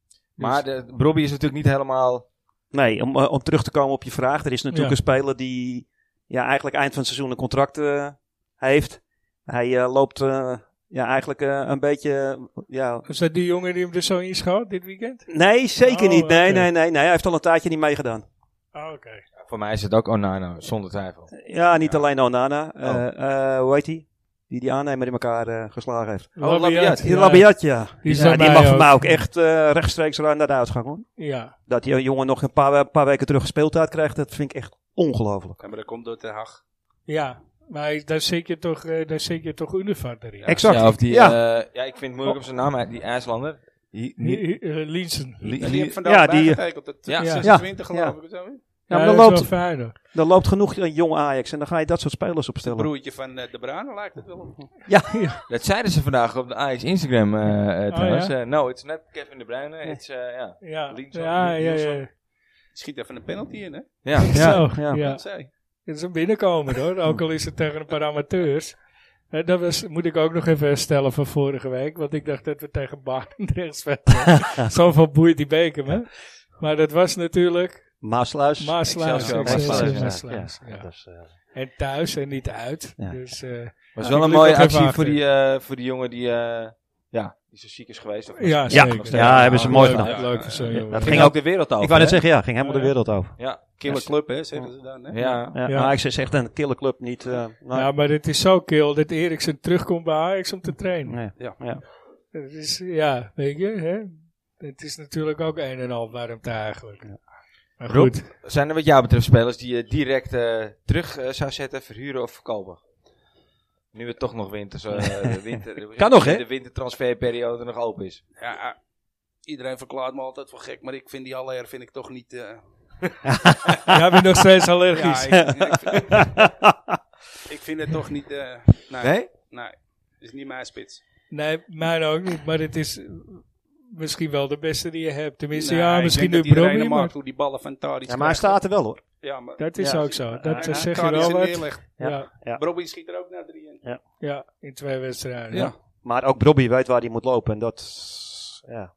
S2: Dus-
S1: Maar de, Brobby is natuurlijk niet helemaal...
S3: nee, om, eh, om terug te komen op je vraag. Er is natuurlijk
S2: Ja.
S3: een speler die ja, eigenlijk eind van het seizoen een contract eh, heeft. Hij eh, loopt eh, ja, eigenlijk eh, een beetje... eh, ja,
S2: Is dat die jongen die hem er zo inschoot dit weekend?
S3: nee, zeker
S2: Oh,
S3: niet. Nee,
S2: oké.
S3: nee, nee, nee. Hij heeft al een tijdje niet meegedaan.
S2: Ah, oké.
S1: Voor mij is het ook Onana, zonder twijfel.
S3: Ja, niet alleen Onana. Eh
S2: Oh.
S3: eh, hoe heet hij? Die die aannemer in elkaar eh, geslagen heeft.
S1: Oh, Labiat.
S3: Die Labiat, ja.
S2: Die is
S3: ja,
S2: van
S3: die
S2: mij
S3: mag
S2: ook.
S3: voor mij ook echt eh, rechtstreeks naar de uitgang hoor.
S2: Ja.
S3: Dat die jongen nog een paar, eh, paar weken terug gespeeltijd krijgt, dat vind ik echt ongelooflijk.
S4: Ja, maar dat komt door Ten Hag.
S2: Ja. Maar daar zit je toch, eh, daar zit je toch Unifat erin.
S4: Ja.
S3: exact.
S1: Ja, of die, eh,
S3: ja.
S1: ja. ja, ik vind het moeilijk om zijn naam uit, die IJslander. Die- die-
S2: Hi- hi- eh, Linsen.
S1: die-
S4: Ja, die
S1: die-
S4: heeft vandaag
S3: ja,
S4: ja,
S3: die, eh,
S4: bijgetekend. Tot
S1: Ja.
S4: 26
S3: Ja.
S4: geloof ik. of zo.
S3: Ja,
S2: Ja,
S3: maar dan
S2: dat is wel
S3: loopt,
S2: fijn hoor.
S3: er loopt genoeg een jong Ajax en dan ga je dat soort spelers opstellen.
S4: Broertje van eh, De Bruyne lijkt het wel op.
S1: dat zeiden ze vandaag op de Ajax Instagram eh eh,
S2: Oh,
S1: trouwens.
S2: ja?
S1: Eh, no, it's not Kevin De Bruyne, it's... eh, ja.
S2: Ja,
S1: Linsen,
S2: ja, ja, ja.
S1: Nielsen.
S4: Schiet even een penalty in, hè?
S1: Ja.
S2: Zo,
S3: ja.
S2: ja.
S4: Dat zei.
S2: Het is een binnenkomen hoor, ook al is het tegen een paar amateurs. Eh, Dat was, moet ik ook nog even herstellen van vorige week, want ik dacht dat we tegen Barendrecht speelden. Zoveel boeit die beker me. Maar dat was natuurlijk
S3: Maasluis.
S2: Maaslaas.
S1: Excelsior,
S2: Excelsior,
S1: Maaslaas, ja.
S2: Maaslaas,
S3: Ja,
S2: ja.
S3: dus, eh,
S2: En thuis en niet uit.
S3: Ja.
S2: Dus, eh,
S1: was
S2: Ja,
S1: wel
S2: die
S1: een
S2: moet ik
S1: mooie
S2: ook even
S1: actie voor
S2: achter.
S1: die, eh, voor die jongen die, eh, ja, die zo ziek is geweest. Of
S2: ja,
S1: nog
S3: Ja,
S2: zeker. Ah,
S1: steeds.
S3: ja, hebben ze mooi
S2: leuk,
S3: gedaan.
S2: Leuk voor zo'n jongen.
S3: dat
S1: Ging
S3: Ging
S1: ook de wereld over.
S3: ik wou net
S1: hè?
S3: zeggen, ja, ging helemaal de wereld over.
S1: Ja,
S4: Killer
S1: killer club.
S4: club, hè, zeggen ze dan. Hè?
S1: Ja.
S3: Ja,
S2: Ja.
S3: Ajax is echt een killer club, niet... eh, nou,
S2: Ja, maar het is zo kill dat Eriksen terugkomt bij Ajax om te trainen.
S3: nee.
S4: Ja.
S3: Ja.
S2: Het is, ja, weet je, hè? Het is natuurlijk ook een en al warmte eigenlijk. Maar
S1: Rob?
S2: goed,
S1: Zijn er wat jou betreft spelers die je direct eh, terug eh, zou zetten, verhuren of verkopen? Nu het toch nog winter, eh, de winter
S3: Kan nog, hè?
S1: De wintertransferperiode nog open is.
S4: Ja, ah, iedereen verklaart me altijd voor gek, maar ik vind die Haller vind ik toch niet... eh,
S2: jij bent nog steeds
S4: ja,
S2: allergisch.
S4: ik, ik, vind- ik vind het toch niet... eh, nee,
S1: Nee?
S4: nee, is niet mijn spits.
S2: Nee, mijn ook niet, maar het is eh, misschien wel de beste die je hebt. Tenminste,
S4: Nee,
S2: ja,
S4: ik
S2: misschien nu
S4: denk dat iedereen
S2: Brobby,
S4: hem
S2: maar
S4: maakt hoe die ballen van Tadic
S3: Ja, maar hij staat er wel hoor.
S4: Ja, maar...
S2: dat is
S3: Ja.
S2: ook zo.
S3: Ja,
S2: Dat eh,
S4: Ja,
S2: zeg je
S4: Tadic
S2: wel
S4: en
S2: wat.
S4: neerlegt.
S2: Ja.
S3: Ja.
S2: Ja.
S4: Brobby schiet er ook naar drie in.
S2: in twee wedstrijden.
S4: Ja.
S3: Maar ook Brobby weet waar hij moet lopen en dat... Ja.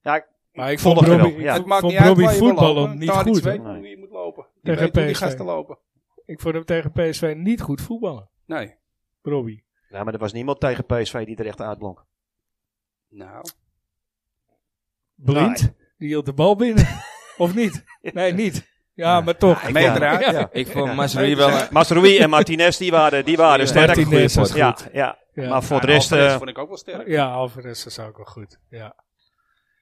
S3: Ja, ik-
S2: Maar ik vond
S3: Volg er wel,
S2: Brobby,
S3: ja.
S2: ik
S4: Het maakt
S2: vond
S4: niet uit
S2: Brobby
S4: waar je wil
S2: voetballen
S4: lopen,
S2: niet
S4: Tadic
S2: goed.
S4: weet
S2: hoor.
S4: hoe je moet lopen. Die
S2: Tegen
S4: weet hoe die
S2: PSV.
S4: gasten lopen.
S2: Ik vond hem tegen PSV niet goed voetballen,
S4: Nee.
S2: Brobby.
S3: ja, maar er was niemand tegen PSV die er echt uitblonk.
S4: Nou,
S2: Blind, die hield de bal binnen. of niet? Nee, niet. Ja, maar toch.
S3: Ja,
S4: meedraaid.
S2: Ja.
S3: Ja.
S1: Ik vond Masri wel een...
S3: Masrui en Martinez, die waren, die waren sterk.
S2: Martinez was
S3: ja,
S2: goed.
S3: ja,
S2: Ja.
S3: maar voor de
S4: Ja,
S3: rest...
S4: Alvarez
S3: eh,
S4: nou, vond ik ook wel sterk.
S2: Ja, Alvarez is ook wel goed. Ja.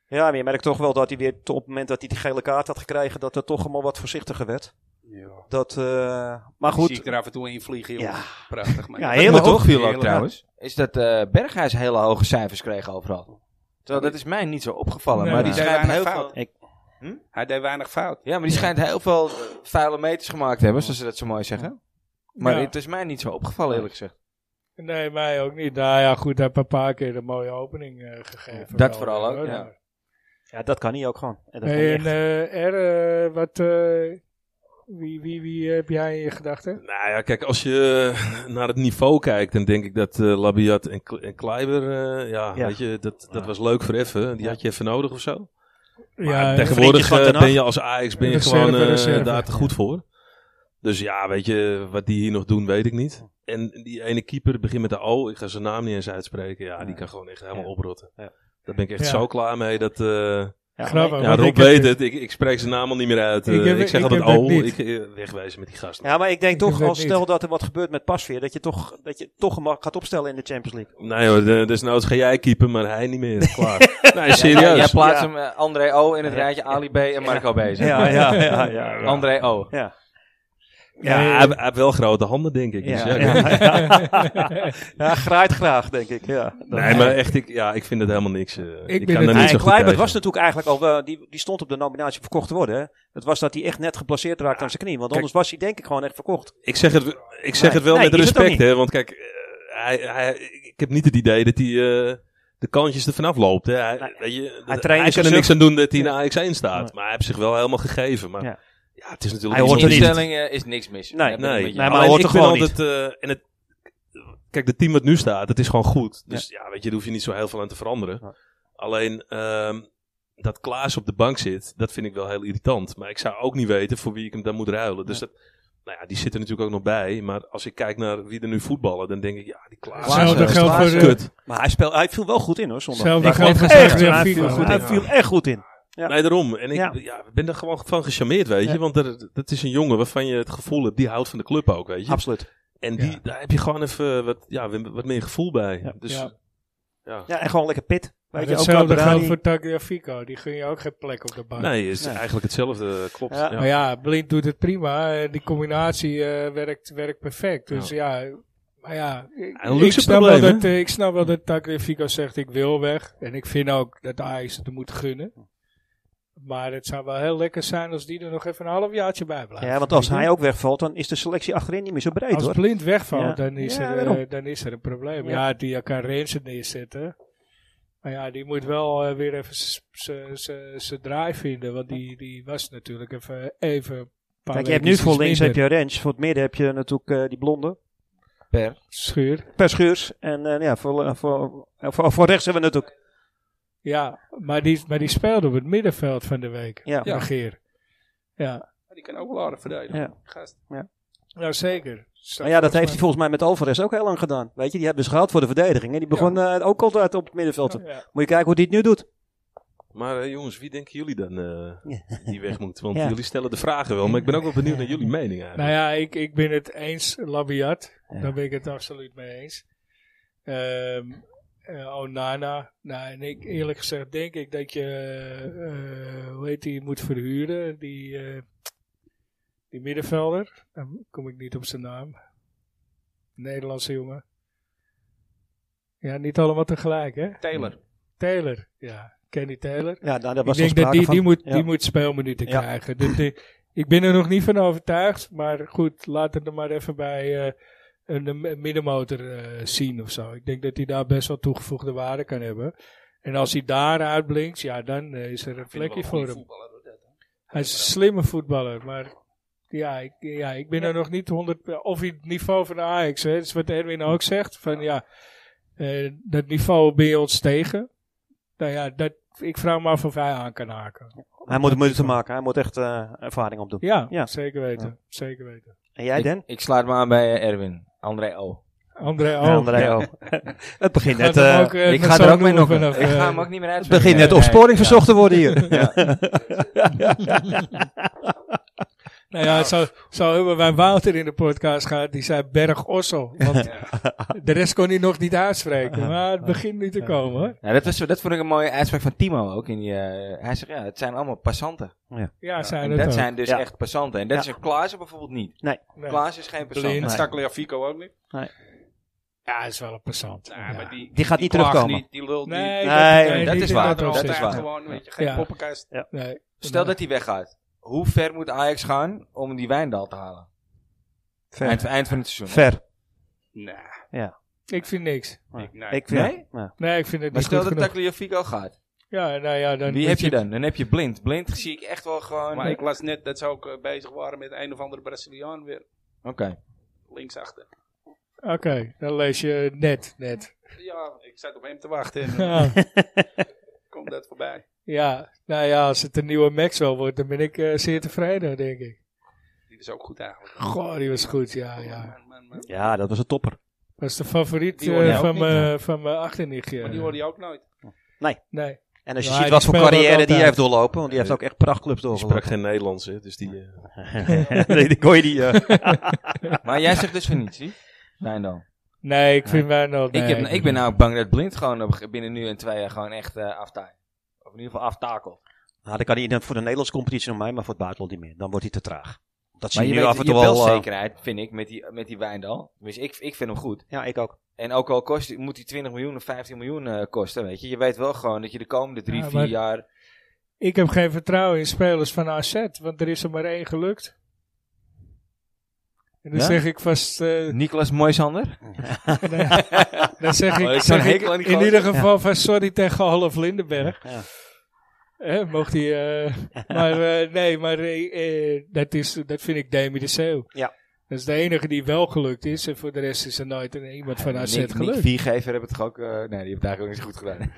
S3: ja, maar je merkt toch wel dat hij weer, op het moment dat hij die gele kaart had gekregen, dat er toch allemaal wat voorzichtiger werd.
S4: Ja.
S3: Dat, eh, maar
S4: Zie ik
S3: goed,
S4: er af en toe in vliegen, joh.
S3: Ja.
S4: Prachtig, man.
S3: Ja,
S4: Dat
S3: heerlijk,
S4: moet
S3: toch?
S1: Viel ook
S4: Heerlijk.
S1: trouwens. Is dat eh, Berghuis hele hoge cijfers kreeg overal. Terwijl dat is mij niet zo opgevallen.
S2: Nee,
S1: maar
S2: nee.
S1: die schijnt
S4: Weinig
S1: heel
S4: fout.
S1: veel...
S3: Ik-
S1: Hm?
S4: Hij deed weinig fout.
S1: Ja, maar die schijnt heel veel eh, vuile meters gemaakt te hebben, zoals ze dat zo mooi zeggen. Maar
S2: Ja.
S1: het is mij niet zo opgevallen, eerlijk gezegd.
S2: Nee, mij ook niet. Nou ja, goed, hij heeft een paar keer een mooie opening eh, gegeven.
S1: Dat
S2: Wel,
S1: vooral ook,
S2: hoor,
S1: ja.
S2: maar-
S3: Ja, dat kan niet ook gewoon. En dat kan
S2: Hey,
S3: niet
S2: en
S3: echt.
S2: eh, R, eh, wat, eh, wie, wie, wie eh, heb jij in je gedachten?
S5: Nou ja, kijk, als je eh, naar het niveau kijkt, dan denk ik dat eh, Labiat en, Kle- en Kleiber, eh, ja,
S3: Ja.
S5: weet je, dat, dat
S3: Ja.
S5: was leuk voor even. Die
S3: Ja.
S5: had je even nodig of zo. Maar
S2: Ja,
S3: vriendje
S5: tegenwoordig
S3: van
S5: eh,
S3: Ten Hag.
S5: ben je als Ajax ben je
S2: Reserve,
S5: gewoon eh,
S2: reserve.
S5: daar te goed voor. Dus ja, weet je, wat die hier nog doen, weet ik niet. En die ene keeper begint met de O, ik ga zijn naam niet eens uitspreken. Ja, die
S3: Ja.
S5: kan gewoon echt helemaal
S3: Ja.
S5: oprotten.
S3: Ja.
S5: Daar ben ik echt
S2: Ja.
S5: zo klaar mee dat... eh,
S3: Ja,
S2: grappig.
S5: ja,
S2: want
S5: Rob
S2: ik heb
S5: weet
S2: dus-
S5: het. Ik, ik spreek zijn naam al niet meer uit. Eh,
S2: Ik
S5: Ik,
S2: heb-
S5: zeg
S2: ik
S5: altijd
S2: heb dat
S5: O.
S2: niet.
S5: Ik, eh, wegwijzen met die gasten.
S3: Ja, maar ik denk
S2: Ik
S3: toch,
S2: weet
S3: als
S2: niet.
S3: stel dat er wat gebeurt met Pasveer, dat je toch, dat je toch hem gaat opstellen in de Champions League.
S5: Nee hoor, de- desnoods ga jij keeper, maar hij niet meer. Klaar. nee, serieus.
S1: Jij plaatst
S3: Ja.
S1: hem eh, André O in het
S3: Ja.
S1: rijtje Ali B en Marco B. zeg maar.
S3: ja, ja. ja,
S1: André O.
S3: Ja.
S5: Ja, hij, hij heeft wel grote handen, denk ik. Dus
S3: Ja,
S5: ja, ik
S3: ja,
S5: weet niet.
S3: ja. Ja, graait graag, denk ik. Ja.
S5: Nee, maar echt, ik, ja, ik vind het helemaal niks. eh, ik
S2: ben
S5: kan
S2: het-
S5: er
S3: Nee, en
S5: niet zo goed
S3: Kluivert
S5: tegen.
S3: was natuurlijk eigenlijk al, wel- die, die stond op de nominatie om verkocht te worden. Hè. Het was dat hij echt net geblesseerd raakte aan zijn knie. Want
S5: Kijk.
S3: anders was hij denk ik gewoon echt verkocht.
S5: Ik zeg het, ik zeg
S3: Nee,
S5: het wel
S3: nee,
S5: met
S3: is het ook
S5: respect,
S3: niet.
S5: hè. Want kijk, eh, hij, hij, ik heb niet het idee dat hij eh, de kantjes er vanaf loopt. Hè. Hij,
S3: Nee.
S5: weet je, dat-
S3: traint
S5: hij kan er
S3: zichzelf.
S5: niks aan doen dat hij
S3: Ja.
S5: naar Ajax 1 staat.
S3: Nee.
S5: Maar hij heeft zich wel helemaal gegeven. Maar
S3: Ja.
S5: ja, het is natuurlijk
S3: Hij hoort
S5: iets
S3: er
S5: anders.
S3: niet.
S1: Instelling eh, is niks mis.
S3: Nee,
S1: Daar ben ik
S5: Nee,
S1: met je.
S3: nee, maar
S5: Alleen,
S3: hoort
S5: ik
S3: er
S5: vind
S3: gewoon
S5: altijd, eh, en het, kijk, het team wat nu staat, het is gewoon goed. Dus ja, weet je, daar hoef je niet zo heel veel aan te veranderen.
S3: Ja.
S5: Alleen ehm, dat Klaas op de bank zit, dat vind ik wel heel irritant. Maar ik zou ook niet weten voor wie ik hem dan moet ruilen. Dus dat, nou ja, die zit er natuurlijk ook nog bij. Maar als ik kijk naar wie er nu voetballen, dan denk ik, ja, die Klaas
S1: Klaas,
S5: is
S1: eh,
S2: Hetzelfde
S5: echt
S2: geldt
S1: Klaas,
S2: voor,
S1: eh,
S2: eh,
S5: kut.
S3: Maar hij, speel, hij viel wel goed in hoor, zondag.
S2: Hetzelfde
S1: Ja,
S2: geldt
S1: ik
S2: voor
S1: net gezegd,
S2: echt,
S1: ja,
S2: ja,
S3: hij viel,
S2: Figo.
S3: goed in. hij viel echt goed in. Ja.
S5: Nee, daarom. En ik,
S3: Ja.
S5: ja. ik ben er gewoon van gecharmeerd, weet je.
S3: Ja.
S5: Want er, dat is een jongen waarvan je het gevoel hebt, die houdt van de club ook, weet je.
S3: Absoluut.
S5: En die,
S2: Ja.
S5: daar heb je gewoon even wat, ja, wat meer gevoel bij.
S3: Ja.
S5: Dus
S2: Ja.
S5: ja.
S3: Ja, en gewoon lekker pit. Weet je, ook
S2: Hetzelfde
S3: Cabradari.
S2: geldt voor Tagliafico. Die gun je ook geen plek op de bank.
S5: nee, is
S3: Nee.
S5: eigenlijk hetzelfde. Klopt.
S3: Ja.
S5: Ja.
S2: Maar Oh, ja, Blind doet het prima. Eh, Die combinatie eh, werkt, werkt perfect. Dus ja, maar ja. ik-
S5: Een luxe
S2: Ik snap, wel
S5: probleem, hè?
S2: dat, eh, ik snap wel dat Tagliafico zegt ik wil weg. En ik vind ook dat Ajax het hem moet gunnen. Maar het zou wel heel lekker zijn als die er nog even een halfjaartje bij blijft.
S3: Ja, want als hij ook wegvalt, dan is de selectie achterin niet meer zo breed
S2: Als
S3: hoor.
S2: blind wegvalt,
S3: Ja.
S2: dan, is
S3: Ja,
S2: er,
S3: daarom.
S2: eh, dan is er een probleem.
S3: Ja.
S2: Ja, die kan Rensen neerzetten. Maar ja, die moet wel eh, weer even zijn draai vinden. Want die, die was natuurlijk even, even een paar
S3: Kijk, je hebt nu
S2: weekjes
S3: voor
S2: iets
S3: links heb
S2: minder.
S3: je Rens, voor het midden heb je natuurlijk eh, die blonde,
S1: Per.
S2: Schuur.
S3: Per Schuurs. En eh, ja, voor, eh, voor, eh, voor, voor rechts hebben we natuurlijk.
S2: Ja, maar die, maar die speelde op het middenveld van de week.
S3: Ja.
S2: Ja. Geer. Ja,
S4: Maar die kan ook wel aardig verdedigen.
S3: Ja.
S4: Gast.
S2: nou zeker.
S3: Maar ja, dat heeft hij volgens mij met Alvarez ook heel lang gedaan. Weet je, die hebben ze gehaald voor de verdediging. En die begon eh, ook altijd op het middenveld. te-
S2: Ja.
S3: Moet je kijken hoe die het nu doet.
S5: Maar eh, jongens, wie denken jullie dan eh, die weg moet? Want
S3: Ja.
S5: jullie stellen de vragen wel, maar ik ben ook wel benieuwd naar jullie mening eigenlijk.
S2: Nou ja, ik, ik ben het eens, Labiat.
S3: Ja.
S2: Daar ben ik het absoluut mee eens. Ehm eh, Onana. Nou, en ik, eerlijk gezegd denk ik dat je, eh, hoe heet die, moet verhuren. Die, eh, die middenvelder. Dan kom ik niet op zijn naam. Nederlandse jongen. Ja, niet allemaal tegelijk, hè?
S4: Taylor.
S2: Taylor, ja. Kenny Taylor.
S3: Ja, nou, daar
S2: Ik
S3: was al
S2: denk dat
S3: sprake
S2: die,
S3: van.
S2: die, moet,
S3: Ja.
S2: die moet speelminuten
S3: Ja.
S2: krijgen. Dit- dit- ik ben er nog niet van overtuigd. Maar goed, laat het er maar even bij eh, een, een middenmotor eh, zien of zo. Ik denk dat hij daar best wel toegevoegde waarde kan hebben. En als hij daar uitblinkt, ja, dan eh, is er een plekje voor hem. Hij is een slimme voetballer, maar ja, ik, ja, ik ben er nog niet 100. Of in het niveau van de Ajax, hè, dat is wat Erwin ook zegt. Van ja, eh, dat niveau ben je ons tegen. Nou ja, dat, ik vraag me af of hij aan kan haken.
S3: Hij moet de moeite te maken. Hij moet echt eh, ervaring opdoen.
S2: Ja,
S3: Ja.
S2: zeker weten. Zeker weten.
S3: En jij,
S1: Ik-
S3: Den?
S1: Ik sluit me aan bij eh, Erwin. André O.
S2: André oh, ook.
S3: Oh, Ja, André ook. het begint net, eh,
S1: Nou, Ik ga er ook mee nokken. Ik
S2: eh,
S1: ga hem ook niet meer uit.
S3: het begint net opsporing verzocht te worden hier.
S2: Nou ja, zo, zo hebben wij Wouter in de podcast gehad. Die zei Berg Ossel. Want de rest kon hij nog niet uitspreken. Maar het begint nu te komen hoor.
S1: Ja, dat, was, dat vond ik een mooie uitspraak van Timo ook. In die, eh, hij zegt, ja, het zijn allemaal passanten.
S2: Ja, zijn
S1: En
S2: het
S1: dat
S2: ook.
S1: zijn dus
S3: Ja.
S1: echt passanten. En dat
S3: Ja.
S1: is een Klaassen bijvoorbeeld niet.
S2: Nee.
S1: Klaas is geen passant.
S2: Blind.
S4: Staklia Fico ook niet.
S2: Ja, dat is wel een passant.
S4: Nou,
S2: ja.
S4: maar die,
S3: Die gaat niet
S4: klaagt
S3: terugkomen.
S4: Niet, die lult niet.
S2: Nee,
S3: Nee,
S2: dat, nee,
S1: dat
S2: niet
S1: is
S2: in
S1: waar.
S2: dat
S1: Dat
S4: Dat
S1: is
S2: opzicht.
S4: is
S1: waar.
S4: gewoon, weet je, geen
S2: Ja.
S4: poppenkast.
S2: Nee.
S1: Stel dat hij weggaat. Hoe ver moet Ajax gaan om die Wijndal te halen? Eind,
S3: Ver.
S1: eind van het seizoen.
S3: Ver.
S4: Nee,
S2: Ik vind niks.
S4: ik- nee.
S3: Ik
S1: Nee?
S3: vind- ja.
S2: Nee, ik vind het
S1: Maar
S2: niet
S1: stel
S2: goed
S1: dat
S2: genoeg.
S1: Tagliafico gaat.
S2: Ja, nou ja, dan
S1: Wie
S2: moet
S1: heb je dan? Dan heb je blind. Blind zie ik echt wel gewoon...
S4: Maar ik
S1: Oké.
S4: las net dat ze ook eh, bezig waren met een of andere Braziliaan weer linksachter.
S2: Oké, dan lees je net, net.
S4: Ja, ik zat op hem te wachten en dan
S2: Ja.
S4: komt dat voorbij.
S2: ja, nou ja, als het een nieuwe Maxwell wordt, dan ben ik eh, zeer tevreden, denk ik.
S4: Die was ook goed eigenlijk.
S2: Goh, die was goed, ja, Oh, ja.
S4: Maar, maar, maar,
S3: Ja, dat was een topper.
S2: Was de favoriet
S4: Die hoor je
S2: eh,
S4: ook
S2: van
S4: niet,
S2: mijn- van mijn achternichtje.
S4: maar die hoorde je ook nooit.
S2: Nee.
S3: En als je
S2: Ja,
S3: ziet
S2: die
S3: wat voor
S2: speelde ook
S3: carrière die
S2: altijd.
S3: hij heeft doorlopen, want die heeft
S5: Nee.
S3: ook echt prachtclubs
S5: Die sprak
S3: doorgelopen.
S5: geen Nederlands, hè, dus die... eh,
S3: nee, die kon je niet. eh.
S1: Maar jij zegt dus van niets, zie? Wijndal.
S2: Nee, ik vind Wijnald...
S1: Ik,
S2: nee.
S1: heb, ik ben nou bang dat blind gewoon op- binnen nu en twee jaar gewoon echt eh aftaait. Of in ieder geval aftakelt.
S3: nou, dan kan hij dan voor de Nederlandse competitie nog mij, maar voor het buitenland niet meer. Dan wordt hij te traag. Dat zie
S1: Maar
S3: je
S1: je
S3: nu
S1: weet
S3: af en toe
S1: je wel
S3: wel. eh,
S1: zekerheid, vind ik, met die, met die Wijndal. Dus ik, ik vind hem goed.
S3: ja, ik ook.
S1: En ook al kost, moet die 20 miljoen of 15 miljoen eh, kosten, weet je. Je weet wel gewoon dat je de komende drie,
S2: Ja,
S1: vier
S2: maar-
S1: jaar...
S2: Ik heb geen vertrouwen in spelers van AZ, want er is er maar één gelukt. En dan
S1: Ja?
S2: zeg ik vast... eh,
S1: Niklas Moisander?
S2: Nee. Dan zeg ik,
S1: Oh, ik zou
S2: zeg
S1: een
S2: ik
S1: hekel aan die
S2: in
S1: gozer.
S2: ieder geval van sorry tegen Half Lindenberg.
S3: Ja.
S2: Hè, mocht hij... eh, maar eh, nee, maar eh, eh, dat, is, dat vind ik Demi de Zeeuw.
S3: Ja.
S2: Dat is de enige die wel gelukt is. En voor de rest is er nooit een- iemand van AZ
S1: Ah, Nick, Nick
S2: gelukt.
S1: Viergever hebben het toch ook... eh, nee, die hebben het eigenlijk ook niet zo goed gedaan.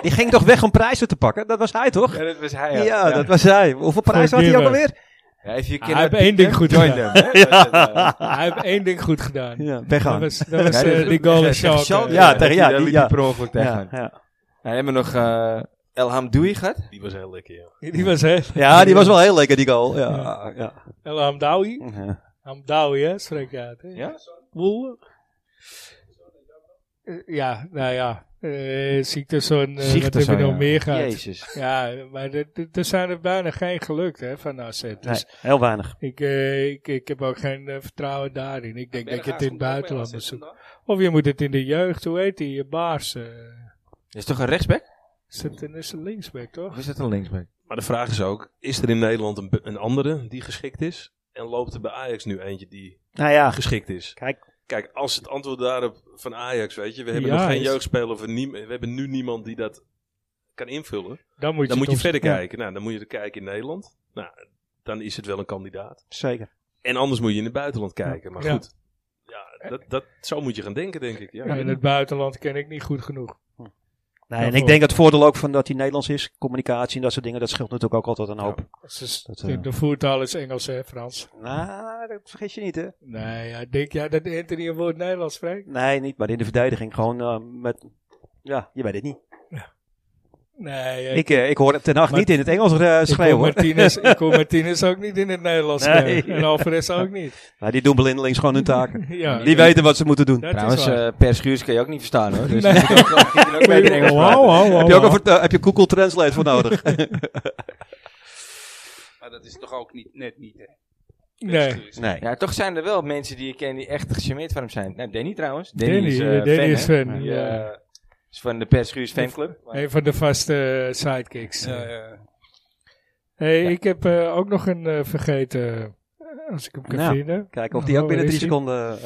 S3: Die ging toch weg om prijzen te pakken? Dat was hij toch?
S1: ja, dat was hij.
S3: Ja, dat was hij. Hoeveel prijzen had hij ook
S2: Gimmer.
S3: alweer?
S1: Ja, if you
S2: Ah, Hij
S1: cannot
S2: heeft
S1: beat
S2: één ding
S1: them,
S2: goed
S1: join
S2: gedaan.
S1: them, hè. Dat was het, eh.
S2: Hij heeft één ding goed gedaan.
S3: Ja,
S2: Dat
S3: weggaan.
S2: was, dat was
S1: Ja,
S2: eh,
S1: dat-
S2: die goal in
S1: tegen
S2: Schalke.
S1: Schalke.
S3: Ja, tegen- ja,
S1: die,
S3: die-
S1: liep
S3: ja.
S1: hij per ongeluk tegen.
S3: Ja, ja.
S1: En hebben we nog eh Elham Doei gehad.
S5: die was heel lekker, ja.
S2: Die was hè?
S3: ja, die was wel heel lekker, die goal. Ja, ja.
S2: El Hamdawi.
S3: Ja.
S2: Hamdawi, hè? Spreek je uit, hè?
S1: Ja?
S2: Woel. Eh, Ja, nou ja. Eh Ziektezoon, eh, wat heb je
S1: Ziektezoon,
S2: nog
S1: ja.
S2: meer gehad?
S1: Jezus.
S2: Ja, maar er- er- er zijn er bijna geen gelukt hè, van AZ. Dus
S3: Nee, heel weinig.
S2: ik, eh, ik, ik heb ook geen eh, vertrouwen daarin. Ik denk dat je het in het buitenland moet zoeken.
S4: zoeken.
S2: Of je moet het in de jeugd, hoe heet die, eh, Baars. eh,
S1: Is toch een rechtsback?
S2: is dat een, is een linksback, toch?
S1: Of is dat een linksback?
S5: Maar de vraag is ook, is er in Nederland een, be- een andere die geschikt is? En loopt er bij Ajax nu eentje die
S3: Nou ja,
S5: geschikt is?
S3: kijk.
S5: Kijk, als het antwoord daarop van Ajax, weet je, we hebben
S2: Ja,
S5: nog geen
S2: is-
S5: jeugdspeler, we, nie- we hebben nu niemand die dat kan invullen.
S2: Dan moet je,
S5: Dan moet je
S2: toch-
S5: verder
S2: Ja.
S5: kijken. Nou, dan moet je er kijken in Nederland. Nou, dan is het wel een kandidaat.
S3: Zeker.
S5: En anders moet je in het buitenland kijken. Maar
S2: Ja.
S5: goed, ja, dat, dat, zo moet je gaan denken, denk ik. Ja.
S2: Ja, in het buitenland ken ik niet goed genoeg.
S3: Nee, en ik denk het voordeel ook van dat hij Nederlands is, communicatie en dat soort dingen, dat scheelt natuurlijk ook altijd een hoop.
S2: Het is-
S3: Dat, eh,
S2: de voertaal is Engels, hè, Frans?
S3: Nou, dat vergis je niet, hè?
S2: Nee, ja, ik denk ja, dat Anthony een woord Nederlands spreekt.
S3: Nee, niet, maar in de verdediging gewoon eh, met. Ja, je weet het niet.
S2: Nee, eh,
S3: Ik, eh, ik hoor Ten Hag
S2: Maar-
S3: niet in het Engels eh,
S2: ik
S3: schreeuwen.
S2: hoor Martinez, ik hoor Martinez ook niet in het Nederlands
S3: Nee.
S2: schrijven. En Alvarez ook niet.
S3: Maar die doen blindelings gewoon hun taken.
S2: Ja,
S3: Die weten wat ze moeten doen.
S2: dat
S1: Trouwens,
S2: is waar.
S1: eh, per schuurs kan je ook niet verstaan hoor. Dus
S2: Nee.
S1: je kunt ook wel- je kunt ook beter Engels
S2: Wow,
S1: praten.
S2: wow, wow,
S3: Heb je ook
S2: wow.
S3: een vert- eh, heb je Google Translate voor nodig?
S4: Maar dat is toch ook niet, net niet, hè?
S2: Nee.
S3: nee.
S1: Ja, toch zijn er wel mensen die ik ken die echt gecharmeerd van hem zijn. Nou, Danny trouwens. Danny,
S2: Danny,
S1: is, eh,
S2: eh, Danny
S1: fan,
S2: is
S1: hè.
S2: fan.
S1: Die,
S2: ja.
S1: eh, is van de per schuurs fanclub. Maar-
S2: Een van de vaste eh, sidekicks.
S4: Eh,
S2: Ah, hey, Ik heb eh, ook nog een eh, vergeten, eh, als ik hem kan
S3: Nou.
S2: vinden.
S3: Kijken of die ook
S2: Oh,
S3: binnen
S2: waar is
S3: drie seconden. eh,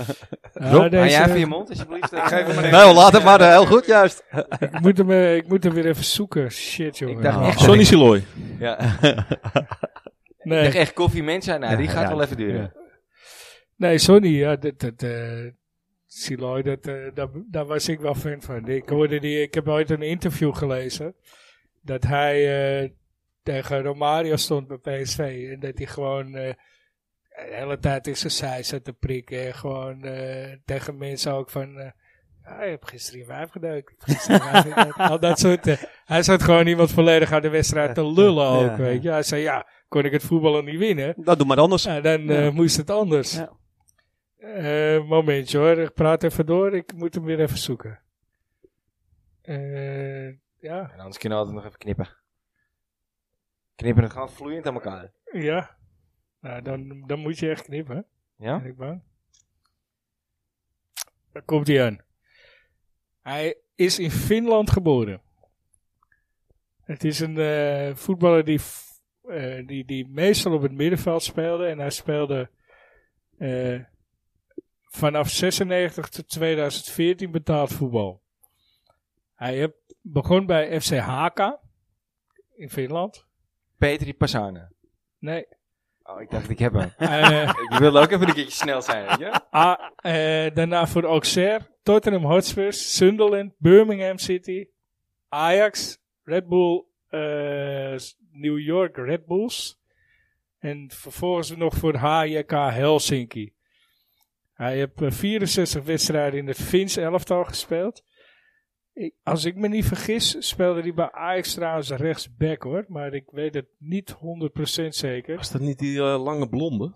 S2: Ah,
S1: Rob,
S2: deze-
S1: hou jij even je mond alsjeblieft. Eh,
S4: Geef hem maar even.
S3: nou, laat het maar. eh, heel goed, juist.
S2: ik, moet hem, eh, ik moet hem weer even zoeken. Shit, jongen. Ah.
S1: Ik dacht
S3: Oh.
S1: echt, dat
S5: Sonny
S1: ik-
S5: Siloy.
S1: ja, ik dacht
S2: nee,
S1: echt koffie mensen. Nou, die
S3: Ja,
S1: gaat
S3: ja.
S1: wel even duren.
S2: nee, sorry. Ja, dat, dat, eh, Siloy, dat, eh, daar, daar was ik wel fan van. Ik, hoorde die, ik heb ooit een interview gelezen. Dat hij eh, tegen Romario stond bij PSV. En dat hij gewoon eh, de hele tijd in zijn zij zat te prikken. En gewoon eh, tegen mensen ook van... eh, ja, je hebt gisteren je wijf gedeukt. je hebt gisteren je wijf gedeukt." Al dat soort... eh, hij zat gewoon iemand volledig aan de wedstrijd te lullen ook.
S3: Ja,
S2: weet je. Hij zei, ja, kon ik het voetballen niet winnen?
S3: Dat doe maar anders.
S2: Ja, dan
S3: Ja.
S2: eh, moest het anders.
S3: Ja.
S2: Eh, momentje hoor, ik praat even door. Ik moet hem weer even zoeken. Eh, ja,
S1: En anders kunnen we altijd nog even knippen. Knippen het gewoon vloeiend aan elkaar.
S2: ja. Nou, dan, dan moet je echt knippen,
S1: Ja?
S2: ben ik bang. Daar komt hij aan. Hij is in Finland geboren. Het is een eh, voetballer die, f- eh, die, die meestal op het middenveld speelde. En hij speelde eh, vanaf 96 tot 2014 betaald voetbal. Hij heb, begon bij FC Haka in Finland.
S1: Petri Passane.
S2: Nee,
S1: Oh, ik dacht ik heb hem.
S2: eh,
S1: ik wilde ook even een keertje snel zijn, weet je?
S2: Ah, eh, daarna voor Auxerre, Tottenham Hotspur, Sunderland, Birmingham City, Ajax, Red Bull, eh, New York Red Bulls. En vervolgens nog voor HJK Helsinki. Hij heeft eh, 64 wedstrijden in het Fins elftal gespeeld. Ik- als ik me niet vergis, speelde hij bij Ajax trouwens rechtsback hoor. Maar ik weet het niet 100% zeker.
S5: Was dat niet die eh, lange blonde?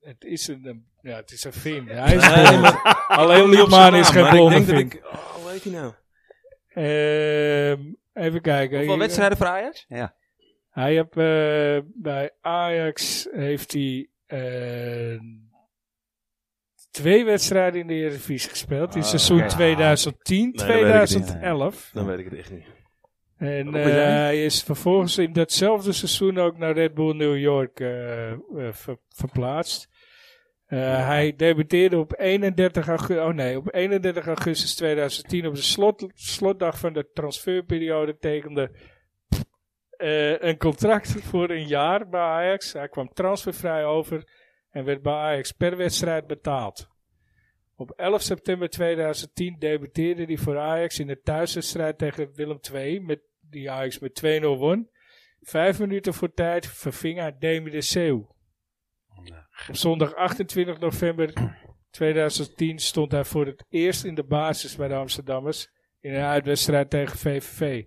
S2: Het is een, een- ja, het is een Fin. Hij is
S5: Nee,
S2: blond.
S5: maar-
S2: Alleen
S5: Kom niet op
S2: Liedman
S5: zijn
S2: is
S5: naam,
S2: geen
S5: maar ik
S2: blonde
S5: denk dat
S2: Fin.
S5: ik- Oh, hoe heet hij nou?
S2: Ehm, even kijken.
S1: Hoeveel
S2: Hij-
S1: wedstrijden voor Ajax?
S2: Hij heeft eh, bij Ajax heeft hij eh, twee wedstrijden in de Eredivisie gespeeld. In
S1: Ah,
S2: seizoen
S1: oké.
S2: 2010,
S5: dat weet ik niet.
S2: 2011.
S5: Dan weet ik het echt niet.
S2: En
S5: Wat
S2: eh,
S5: was jij?
S2: hij is vervolgens in datzelfde seizoen ook naar Red Bull New York eh, eh, ver- verplaatst. Eh, Hij debuteerde op 31, augustus, oh nee, op 31 augustus 2010 op de slot, slotdag van de transferperiode tekende eh, een contract voor een jaar bij Ajax. Hij kwam transfervrij over en werd bij Ajax per wedstrijd betaald. Op 11 september 2010 debuteerde hij voor Ajax in de thuiswedstrijd tegen Willem II, met, die Ajax met 2-0 won. Vijf minuten voor tijd verving hij Demi de Seeuw. Op zondag 28 november 2010 stond hij voor het eerst in de basis bij de Amsterdammers in een uitwedstrijd tegen VVV.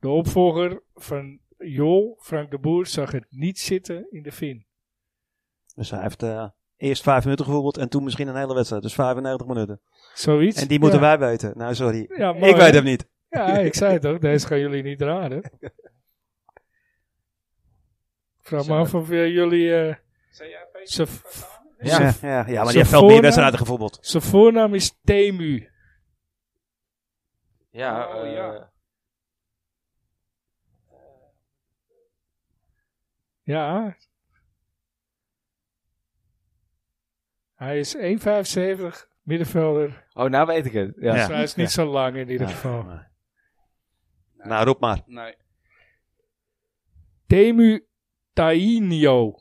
S2: De opvolger van Jol, Frank de Boer, zag het niet zitten in de Vin.
S3: Dus hij heeft eh, eerst vijf minuten gevoetbald en toen misschien een hele wedstrijd. Dus 95 minuten.
S2: Zoiets.
S3: En die moeten
S2: ja.
S3: wij weten. Nou, sorry.
S2: Ja, mooi,
S3: ik
S2: hè?
S3: weet hem niet.
S2: Ja, ik zei het ook. Deze gaan jullie niet raden. Ik Vraag me af of eh, jullie... eh,
S4: Zijn jij Peter?
S2: zijn
S1: Ja.
S3: Ja,
S2: Zo
S3: ja, ja maar die heeft veel
S2: voornaam-
S3: meer wedstrijden gevoetbald.
S2: zijn voornaam is Temu.
S1: Ja,
S4: Oh,
S1: eh,
S4: ja.
S2: Ja. Hij is 1,75 middenvelder.
S1: Oh, nou weet ik het. Ja.
S2: Dus hij is niet zo lang in ieder geval.
S3: Ja. Nou, roep maar.
S4: Nee.
S2: Temu Tainio.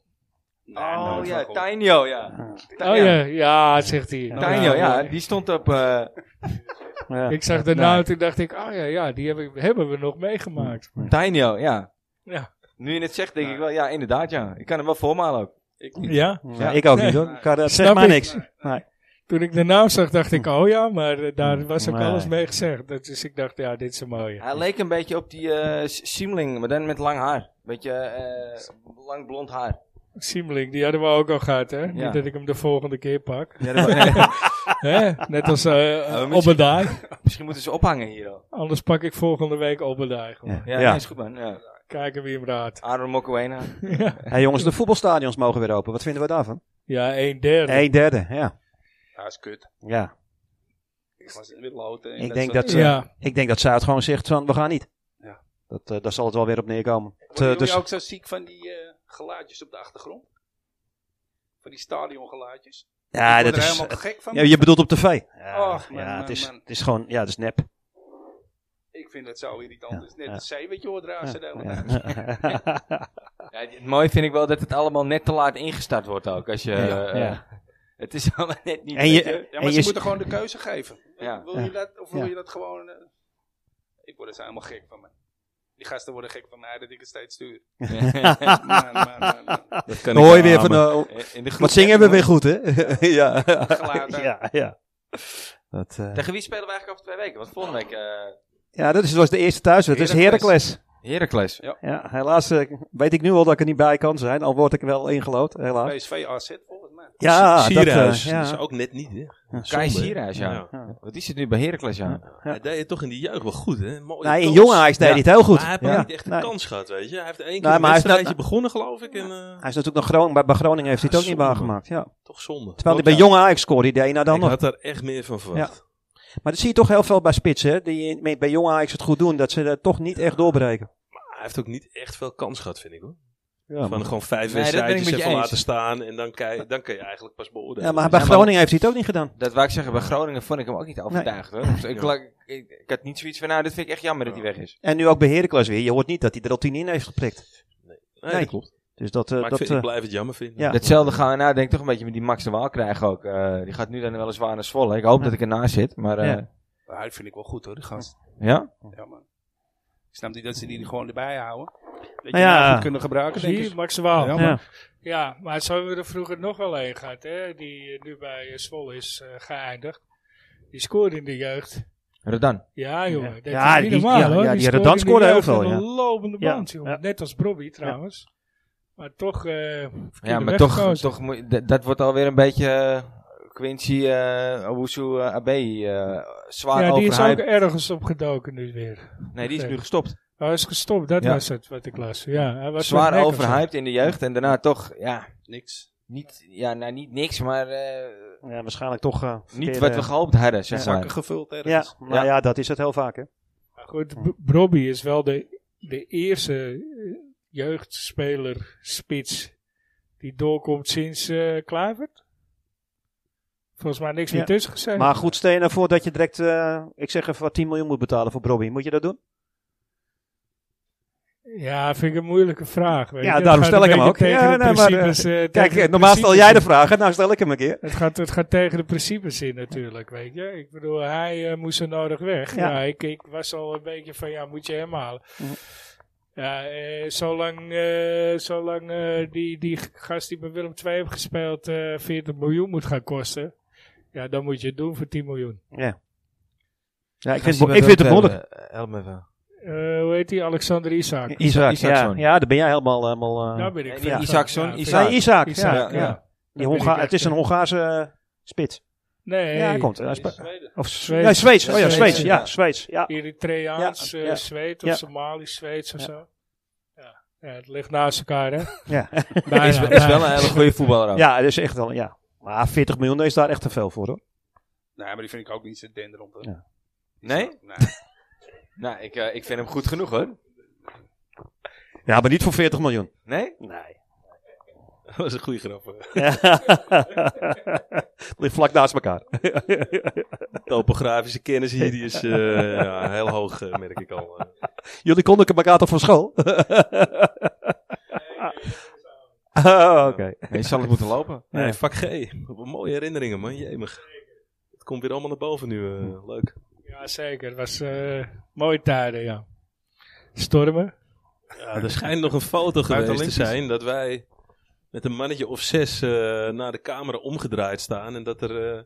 S4: Nee,
S1: Oh
S4: nooit
S1: ja,
S4: van gehoord.
S1: Tainio, ja.
S2: Oh ja, ja, zegt hij.
S1: Tainio, ja.
S2: Ja.
S1: Die stond op... eh,
S3: Ja.
S2: Ik zag de
S3: Nee.
S2: naam en toen dacht ik, oh ja, ja die heb ik- hebben we nog meegemaakt.
S1: Tainio, oh, ja.
S2: Ja.
S1: Nu je het zegt, denk ik wel, ja, inderdaad, ja. Ik kan hem wel voormalen ook.
S4: Ik niet.
S2: Ja?
S3: Ja, ik ook niet hoor. Ik kan- dat zegt
S2: Snap
S3: mij
S2: ik.
S3: niks. Nee.
S2: Toen ik de naam zag, dacht ik, oh ja, maar eh, daar was ook
S3: Nee.
S2: alles mee gezegd. Dat- Dus ik dacht, ja, dit is een mooie.
S1: Hij leek een beetje op die eh Siemling, maar dan met lang haar. Beetje eh, lang blond haar.
S2: Siemling, die hadden we ook al gehad, hè?
S1: Ja.
S2: Niet dat ik hem de volgende keer pak.
S1: Ja, dat wa-
S2: hè? Net als eh
S1: misschien-
S2: Obadiah.
S1: Misschien moeten ze ophangen hier al.
S2: Anders pak ik volgende week Obadiah. gewoon.
S1: Ja,
S3: Ja.
S1: nee, is goed man. Ja.
S2: Kijken wie hem raadt.
S1: Aaron Mokuena.
S2: ja.
S3: Hey, jongens, de voetbalstadions mogen weer open. Wat vinden we daarvan?
S2: ja, een derde.
S3: Een derde, ja.
S4: Ja, is kut.
S3: ja.
S4: Ik was in Middelhouten. en
S3: Ik denk
S4: soort-
S3: dat ze-
S2: ja.
S3: Ik denk dat Zuid gewoon zegt van, we gaan niet.
S4: Ja.
S3: Dat, eh, daar zal het wel weer op neerkomen. Het,
S4: Worden
S3: eh,
S4: jullie
S3: dus,
S4: ook zo ziek van die eh, geluidjes op de achtergrond? Van die stadiongeluidjes?
S3: ja,
S4: ik
S3: Ah,
S4: word
S3: dat
S4: er
S3: is,
S4: helemaal gek van.
S3: ja, je bedoelt op tv. Ja,
S4: Och, man,
S3: ja,
S4: man,
S3: het, is,
S4: man.
S3: het is gewoon, ja, het is nep.
S4: Ik vind het zo irritant.
S3: Ja,
S4: het is net
S3: ja.
S4: een zee wat je hoort razen de hele
S3: Ja.
S4: tijd.
S1: Ja, het mooie vind ik wel dat het allemaal net te laat ingestart wordt ook. Als je, eh,
S3: ja.
S1: Het is allemaal net niet...
S3: En
S1: weet
S3: je-
S4: Ja,
S3: en
S4: maar ze
S3: je-
S4: moeten gewoon de keuze geven.
S1: Ja.
S4: Wil je dat, of wil
S3: Ja.
S4: je dat gewoon... eh, ik word er zo helemaal gek van, man. Die gasten worden gek van mij dat ik het steeds stuur. Man, man, man, man.
S5: Dat kan
S3: Dan
S5: ik
S3: hoor je weer
S5: beamen.
S3: van, eh,
S1: In de groep-
S3: wat zingen we weer goed, hè? ja.
S4: Gelaten.
S3: ja, ja. Dat, eh,
S1: Tegen wie spelen we eigenlijk over twee weken? Want volgende week... eh
S3: ja, dat is, was de eerste thuiswedstrijd. Het is
S4: Heracles.
S3: Heracles.
S1: Heracles.
S3: Ja, helaas eh, weet ik nu al dat ik er niet bij kan zijn. Al word ik wel ingelood, helaas.
S4: PSV AZ volgens mij.
S3: Ja, dat, eh,
S5: Sierhuis.
S3: ja.
S5: Dat is ook net niet, hè?
S1: Kai
S5: Zonde, hè?
S1: Sierhuis, ja.
S5: Ja.
S1: Wat is het nu bij Heracles, ja?
S5: Hij deed het toch in die jeugd wel goed, hè? Mooie
S3: Nou, in
S5: kans.
S3: jonge Ajax deed hij het heel goed.
S5: Maar hij heeft
S3: Ja.
S5: niet echt een
S3: Nee.
S5: kans gehad, weet je. Hij heeft één keer
S3: maar
S5: een
S3: hij is
S5: wedstrijdje
S3: nou-
S5: begonnen, geloof ik. En, eh,
S3: Hij is natuurlijk nog Groningen, bij- bij Groningen heeft hij het
S5: Ja,
S3: ook niet
S5: zonde,
S3: waargemaakt. Ja.
S5: toch zonde.
S3: Terwijl hij bij jonge Ajax scoorde, die deed hij nou
S5: Ik
S3: dan nog.
S5: had daar echt meer van verwacht.
S3: Maar dat zie je toch heel veel bij spitsen. hè, Die in- bij jong Ajax het goed doen. Dat ze dat toch niet echt doorbreken.
S5: Maar hij heeft ook niet echt veel kans gehad, vind ik hoor.
S3: Ja,
S5: Van
S3: maar,
S5: gewoon vijf
S1: Nee, dat ben ik
S5: wedstrijdjes
S1: met je
S5: even
S1: eens.
S5: laten staan en dan kan, je, dan kan je eigenlijk pas beoordelen.
S3: ja, maar bij
S1: Ja, maar-
S3: Groningen heeft hij het ook niet gedaan.
S1: Dat wou ik zeggen, bij Groningen vond ik hem ook niet overtuigd hoor. Dus ik,
S5: Ja.
S1: ik, ik, ik had niet zoiets van, nou dit vind ik echt jammer dat hij weg is.
S3: En nu ook bij Heracles weer. Je hoort niet dat hij er al tien in heeft geprikt.
S5: Nee,
S3: Nee.
S5: dat klopt.
S3: Dus dat... eh,
S5: Maar ik,
S3: dat
S5: vind,
S3: eh,
S5: ik blijf het jammer vinden.
S3: ja.
S1: Hetzelfde gaan we nou denk ik toch een beetje met die Max de Waal krijgen ook. Eh, die gaat nu dan wel eens waar naar Zwolle. Ik hoop
S3: Ja.
S1: dat ik ernaast zit, maar eh,
S3: Ja.
S4: Maar hij vind ik wel goed hoor, die gast.
S1: ja.
S4: Ja, man. Ik snap niet dat ze die er gewoon erbij houden. Dat je
S3: Nou ja.
S4: hem goed kunnen gebruiken, denk
S2: Zie je,
S4: ik.
S2: Max de Waal.
S4: Ja.
S2: Ja.
S3: ja.
S2: maar zo hebben we er vroeger nog wel een gehad, hè, die eh, nu bij eh, Zwolle is eh, geëindigd. Die scoorde in de jeugd.
S1: Rodan.
S2: Ja, jongen. Dat
S3: Ja,
S2: is niet
S3: die-
S2: normaal,
S3: ja,
S2: hoor.
S3: ja, die
S2: scoorde
S3: Redan
S2: in de
S3: scoorde heel
S2: jeugd
S3: veel,
S2: in
S3: ja.
S2: Een lopende
S3: Ja,
S2: band, jongen.
S3: ja.
S2: Net als Brobby trouwens. Maar toch... eh
S1: Ja,
S2: verkeerde
S1: maar
S2: weg
S1: toch,
S2: gekozen.
S1: toch moet- dat- dat wordt alweer een beetje eh, Quincy eh Owusu eh, Abe eh, zwaar
S2: Ja, die is ook
S1: overhyped.
S2: ergens opgedoken nu weer.
S1: Nee, die is nu gestopt.
S2: Hij is gestopt, dat
S1: Ja.
S2: was het wat ik las. Ja, hij was
S1: Zwaar
S2: wat nek of zo.
S1: overhyped in de jeugd en daarna toch, ja,
S4: Niks.
S1: niet, ja, nou niet niks, maar eh,
S3: Ja, waarschijnlijk toch... eh,
S1: niet
S3: verkeerde-
S1: wat we gehoopt hadden, zeg
S4: Zakken
S1: maar.
S4: gevuld
S3: Ja,
S4: ergens.
S3: nou ja, dat is het heel vaak. Hè.
S2: Maar goed, B- Brobby is wel de, de eerste eh, jeugdspeler, spits, die doorkomt sinds eh Kluivert. Volgens mij niks
S3: Ja.
S2: meer tussen gezegd.
S3: Maar goed, stel je nou voor dat je direct, eh, ik zeg even, wat 10 miljoen moet betalen voor Bobby. Moet je dat doen?
S2: ja, vind ik een moeilijke vraag. Weet
S3: Ja,
S2: je. Het
S3: daarom
S2: gaat
S3: stel
S2: een
S3: ik hem
S2: beetje
S3: ook.
S2: tegen
S3: Ja,
S2: de
S3: nee, maar, eh,
S2: principes, eh,
S3: Kijk,
S2: tegen
S3: eh,
S2: de
S3: normaal stel jij de
S2: principes
S3: vraag, nou stel ik hem een keer.
S2: in. Het gaat, het gaat tegen de principes in natuurlijk, weet je. Ik bedoel, hij eh, moest er nodig weg.
S3: Ja.
S2: Ja, ik, ik was al een beetje van, ja, moet je hem halen.
S3: Mhm.
S2: Ja, eh, zolang, eh, zolang eh, die, die gast die bij Willem II heeft gespeeld eh 40 miljoen moet gaan kosten. Ja, dan moet je het doen voor 10 miljoen.
S3: Ja, ik vind, Bo- ik vind het behoorlijk.
S2: Eh, hoe heet die? Alexander eh, Isaac.
S3: Isaac, ja.
S1: Isaacson.
S3: ja, daar ben jij helemaal... helemaal eh,
S2: Daar ben ik
S1: Nee,
S2: fan
S1: niet
S2: van.
S1: Isaacson,
S2: Ja,
S3: Nee,
S1: Isaac.
S3: Isaac,
S2: Isaac,
S3: ja.
S2: ja.
S3: ja.
S2: Daar
S3: Die
S2: ben ik
S3: Honga-
S2: echt,
S3: het is een
S2: eh,
S3: Hongaarse eh, spits.
S2: Nee,
S3: Ja, hij komt. Hij
S4: eh,
S3: spe-
S4: Tweede.
S3: of
S2: Zweeds.
S3: Zweeds. Nee, Zweeds. Oh ja,
S2: Zweeds,
S3: Zweeds.
S1: ja.
S3: Ja, Zweeds. Ja.
S2: Eritreaans,
S3: Ja,
S2: eh,
S3: ja.
S2: Zweed of
S3: Ja.
S2: Somalisch Zweeds of
S3: Ja.
S2: zo. Ja. ja, het ligt naast elkaar, hè?
S3: Ja.
S2: Bijna,
S1: is, is
S2: bijna.
S1: wel een hele goede voetballer ook.
S3: ja, dat is echt wel... Ja. Maar 40 miljoen is daar echt te veel voor, hoor.
S4: Nee, maar die vind ik ook niet zo denderend. hoor.
S3: Ja.
S1: Nee?
S4: Nee.
S1: Nou, ik, eh, ik vind hem goed genoeg hoor.
S3: Ja, maar niet voor 40 miljoen.
S1: Nee?
S3: Nee.
S5: Dat was een goede grap. eh. hè.
S3: Ligt vlak naast elkaar.
S5: Topografische kennis hier, die is eh, ja, heel hoog, eh, merk ik al. eh.
S3: Jullie konden elkaar toch van school? Oh, oké.
S1: Je zal het moeten lopen.
S5: Nee,
S3: Ja.
S5: vak G. Wat mooie herinneringen, man. Jemig. Het komt weer allemaal naar boven nu. eh, Leuk.
S2: Ja, zeker. Het was eh mooie tijden, ja. Stormen.
S5: Ja, er schijnt nog een foto geweest te
S4: Olympisch.
S5: zijn dat wij met een mannetje of zes eh, naar de camera omgedraaid staan. En dat er eh,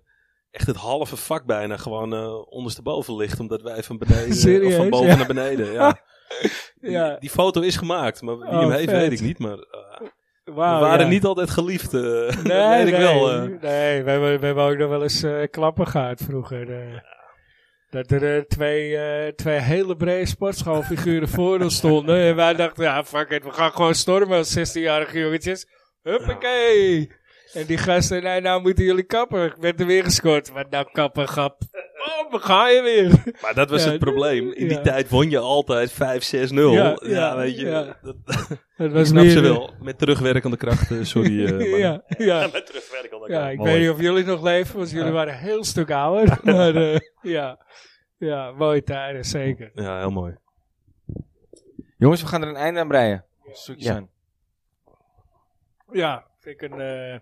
S5: echt het halve vak bijna gewoon eh, ondersteboven ligt. Omdat wij van beneden eh, of
S2: Serieus?
S5: van boven
S2: Ja.
S5: naar beneden. Ja.
S2: Ja.
S5: Die, die foto is gemaakt, maar wie
S2: Oh,
S5: hem heeft
S2: vet.
S5: weet ik niet. Maar eh,
S2: Wauw,
S5: we waren
S2: ja.
S5: niet altijd geliefd. eh dat
S2: Nee,
S5: weet ik
S2: nee,
S5: wel. eh.
S2: nee, we hebben, we hebben ook nog wel eens eh, klappen gehad vroeger. eh. Dat er eh, twee, eh, twee hele brede sportschoolfiguren voor ons stonden. En wij dachten, ja, fuck it, we gaan gewoon stormen als 16-jarige jongetjes. Huppakee! En die gasten, nee, nou moeten jullie kappen. Ik werd er weer gescoord. Wat nou kappen, grap. Oh, we gaan je weer.
S5: Maar dat was
S2: Ja,
S5: het probleem. In die
S2: ja.
S5: tijd won je altijd 5-6-0. Ja,
S2: Ja, ja,
S5: weet je.
S2: ja.
S5: Dat
S2: Dat was
S5: snap
S2: weer-
S5: ze wel. Met terugwerkende krachten, sorry. eh, maar-
S2: ja, ja. Ja, ik weet niet of jullie nog leven, want jullie waren een heel stuk ouder. Maar eh, ja. ja, mooie tijden, zeker.
S5: ja, heel mooi.
S1: Jongens, we gaan er een einde aan breien. Zoetjes
S3: Ja.
S1: aan.
S2: Ja, vind ik een eh,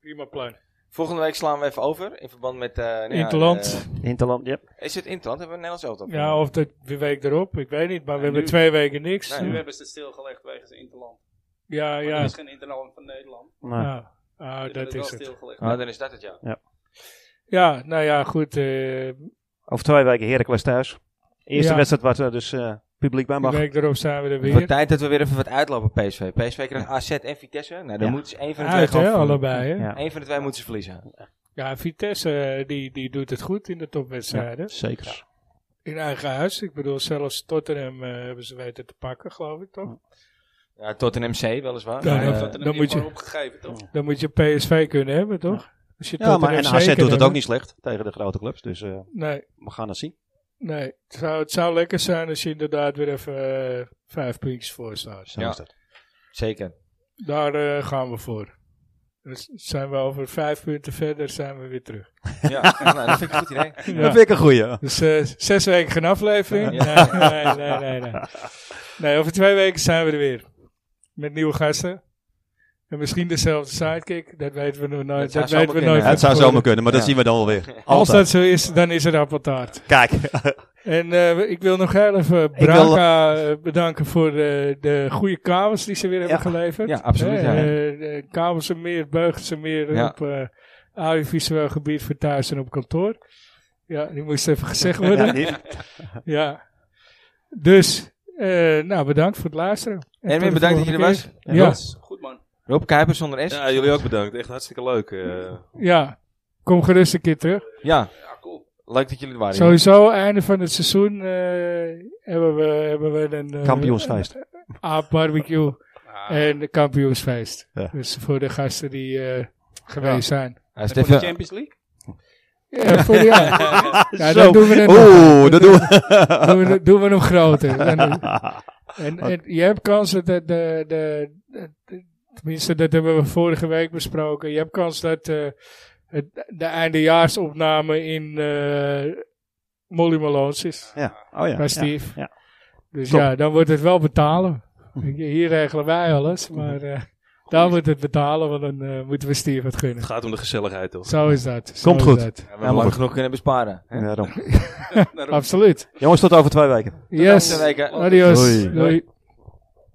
S2: prima plan.
S1: Volgende week slaan we even over in verband met... eh, nou ja,
S2: Interland.
S3: Interland, ja.
S1: eh, is het Interland? Hebben we een Nederlands elftal?
S2: Ja, of de, de week erop, ik weet niet, maar we
S4: Ja,
S2: hebben
S4: nu-
S2: twee weken niks.
S1: Nee,
S4: Nu hebben ze het stilgelegd wegens Interland.
S2: Ja,
S4: Maar er
S2: ja.
S4: is geen Interland van Nederland.
S3: Nou,
S2: ja. Ah,
S4: Ze hebben
S2: dat
S4: wel
S2: is het.
S4: stilgelegd.
S1: Ah, dan is dat het, ja.
S2: Ja, nou ja, goed. eh
S3: Over twee weken Heracles thuis. Eerste
S2: Ja.
S3: wedstrijd waar eh, dus eh, publiek bij
S2: de
S3: mag.
S2: week erop zijn we er
S1: Het wordt
S2: weer.
S1: tijd dat we weer even wat uitlopen op PSV. PSV krijgt AZ en Vitesse. Nou, dan
S3: Ja.
S1: moeten ze één van de twee
S2: Uit, hè,
S1: gewoon verliezen.
S2: allebei. Hè? Ja.
S3: Ja.
S1: Eén van de twee moeten ze verliezen.
S2: Vitesse eh, die, die doet het goed in de topwedstrijden.
S3: Zeker.
S2: In eigen huis. Ik bedoel, zelfs Tottenham eh, hebben ze weten te pakken, geloof ik toch?
S1: Ja, Tottenham C, weliswaar.
S2: Ja,
S1: Maar,
S2: dat-
S1: eh,
S4: Dat had er
S2: dan
S4: nog
S2: moet
S4: moet
S2: je-
S4: opgegeven, toch?
S2: Dan moet je PSV kunnen hebben, toch? Dus je
S3: Ja, maar en
S2: Tottenham
S3: AZ
S2: zeker
S3: doet het
S2: hebben.
S3: ook niet slecht tegen de grote clubs. Dus eh,
S2: Nee,
S3: we gaan het zien.
S2: nee. Het zou, het zou lekker zijn als je inderdaad weer even eh, vijf puntjes voor staat.
S3: Zo
S1: Ja.
S3: is dat.
S1: Zeker.
S2: Daar eh, gaan we voor. Dus zijn we over vijf punten verder, zijn we weer terug.
S1: Ja, nou, dat vind ik een goed idee.
S2: Ja.
S3: Dat vind ik een goeie.
S2: Dus eh, zes weken geen aflevering. Nee, nee, nee, nee, nee. Nee, over twee weken zijn we er weer. Met nieuwe gasten. En misschien dezelfde sidekick. Dat weten we nog
S1: zou
S2: nooit. Dat, weten
S1: zomaar
S2: we
S1: kunnen.
S2: nooit.
S1: Ja,
S3: het zou
S2: van tevoren.
S3: zomaar kunnen, maar dat
S1: Ja.
S3: zien we dan wel weer.
S2: Als
S3: Altijd.
S2: dat zo is, dan is er appeltaart.
S3: Kijk,
S2: En eh, ik wil nog heel even
S3: wil-
S2: Branca eh, bedanken voor de, de goede kabels die ze weer hebben geleverd.
S1: Ja, absoluut, ja.
S2: Eh, eh, kabels en meer, buigens en meer
S1: Ja.
S2: op eh audiovisueel gebied voor thuis en op kantoor. Ja, die moest even gezegd worden. Ja. Dus, eh, nou bedankt voor het luisteren. En tot
S1: Erwin,
S2: de
S1: bedankt dat je er
S2: volgende
S1: was.
S2: keer.
S1: En
S2: Ja.
S1: Rob,
S4: Goed man.
S1: Rob Kuiper zonder S.
S5: Ja, jullie ook bedankt. Echt hartstikke leuk. eh.
S2: Ja, kom gerust een keer terug.
S1: Ja,
S4: Ja, cool.
S1: leuk dat jullie er waren. jongens.
S2: Sowieso, einde van het seizoen eh, hebben, we, hebben we een... eh,
S3: kampioensfeest.
S2: Aap barbecue.
S4: Ah,
S2: En de kampioensfeest.
S3: Ja.
S2: Dus voor de gasten die eh, geweest zijn.
S1: Ja,
S4: en voor de
S1: Stefan,
S4: Champions League?
S2: Ja, voor die, ja. Ja,
S3: Zo.
S2: dan doen we het
S3: Oeh, dat doen we.
S2: doen, we, doen we hem groter. En, en, en je hebt kans dat de, de, de, de- Tenminste, dat hebben we vorige week besproken. Je hebt kans dat eh, het, de eindejaarsopname in eh Molly Malones is.
S3: Ja. Oh ja.
S2: bij Steve.
S3: ja.
S2: Dus
S3: Top. Hm.
S2: ja, dan wordt het wel betalen. Weet je, Hier regelen wij alles, maar eh daar wordt het betalen, want dan eh, moeten we Steve wat gunnen.
S5: Het gaat om de gezelligheid, toch?
S2: Zo is dat. Zo
S3: Komt
S2: is
S3: goed.
S2: dat.
S1: ja, lang genoeg kunnen besparen.
S3: Ja. daarom.
S4: Naar
S2: Absoluut.
S3: Jongens, tot over twee weken.
S1: Tot
S2: Yes.
S1: volgende week, hè.
S2: Adios.
S3: Doei.
S2: Doei.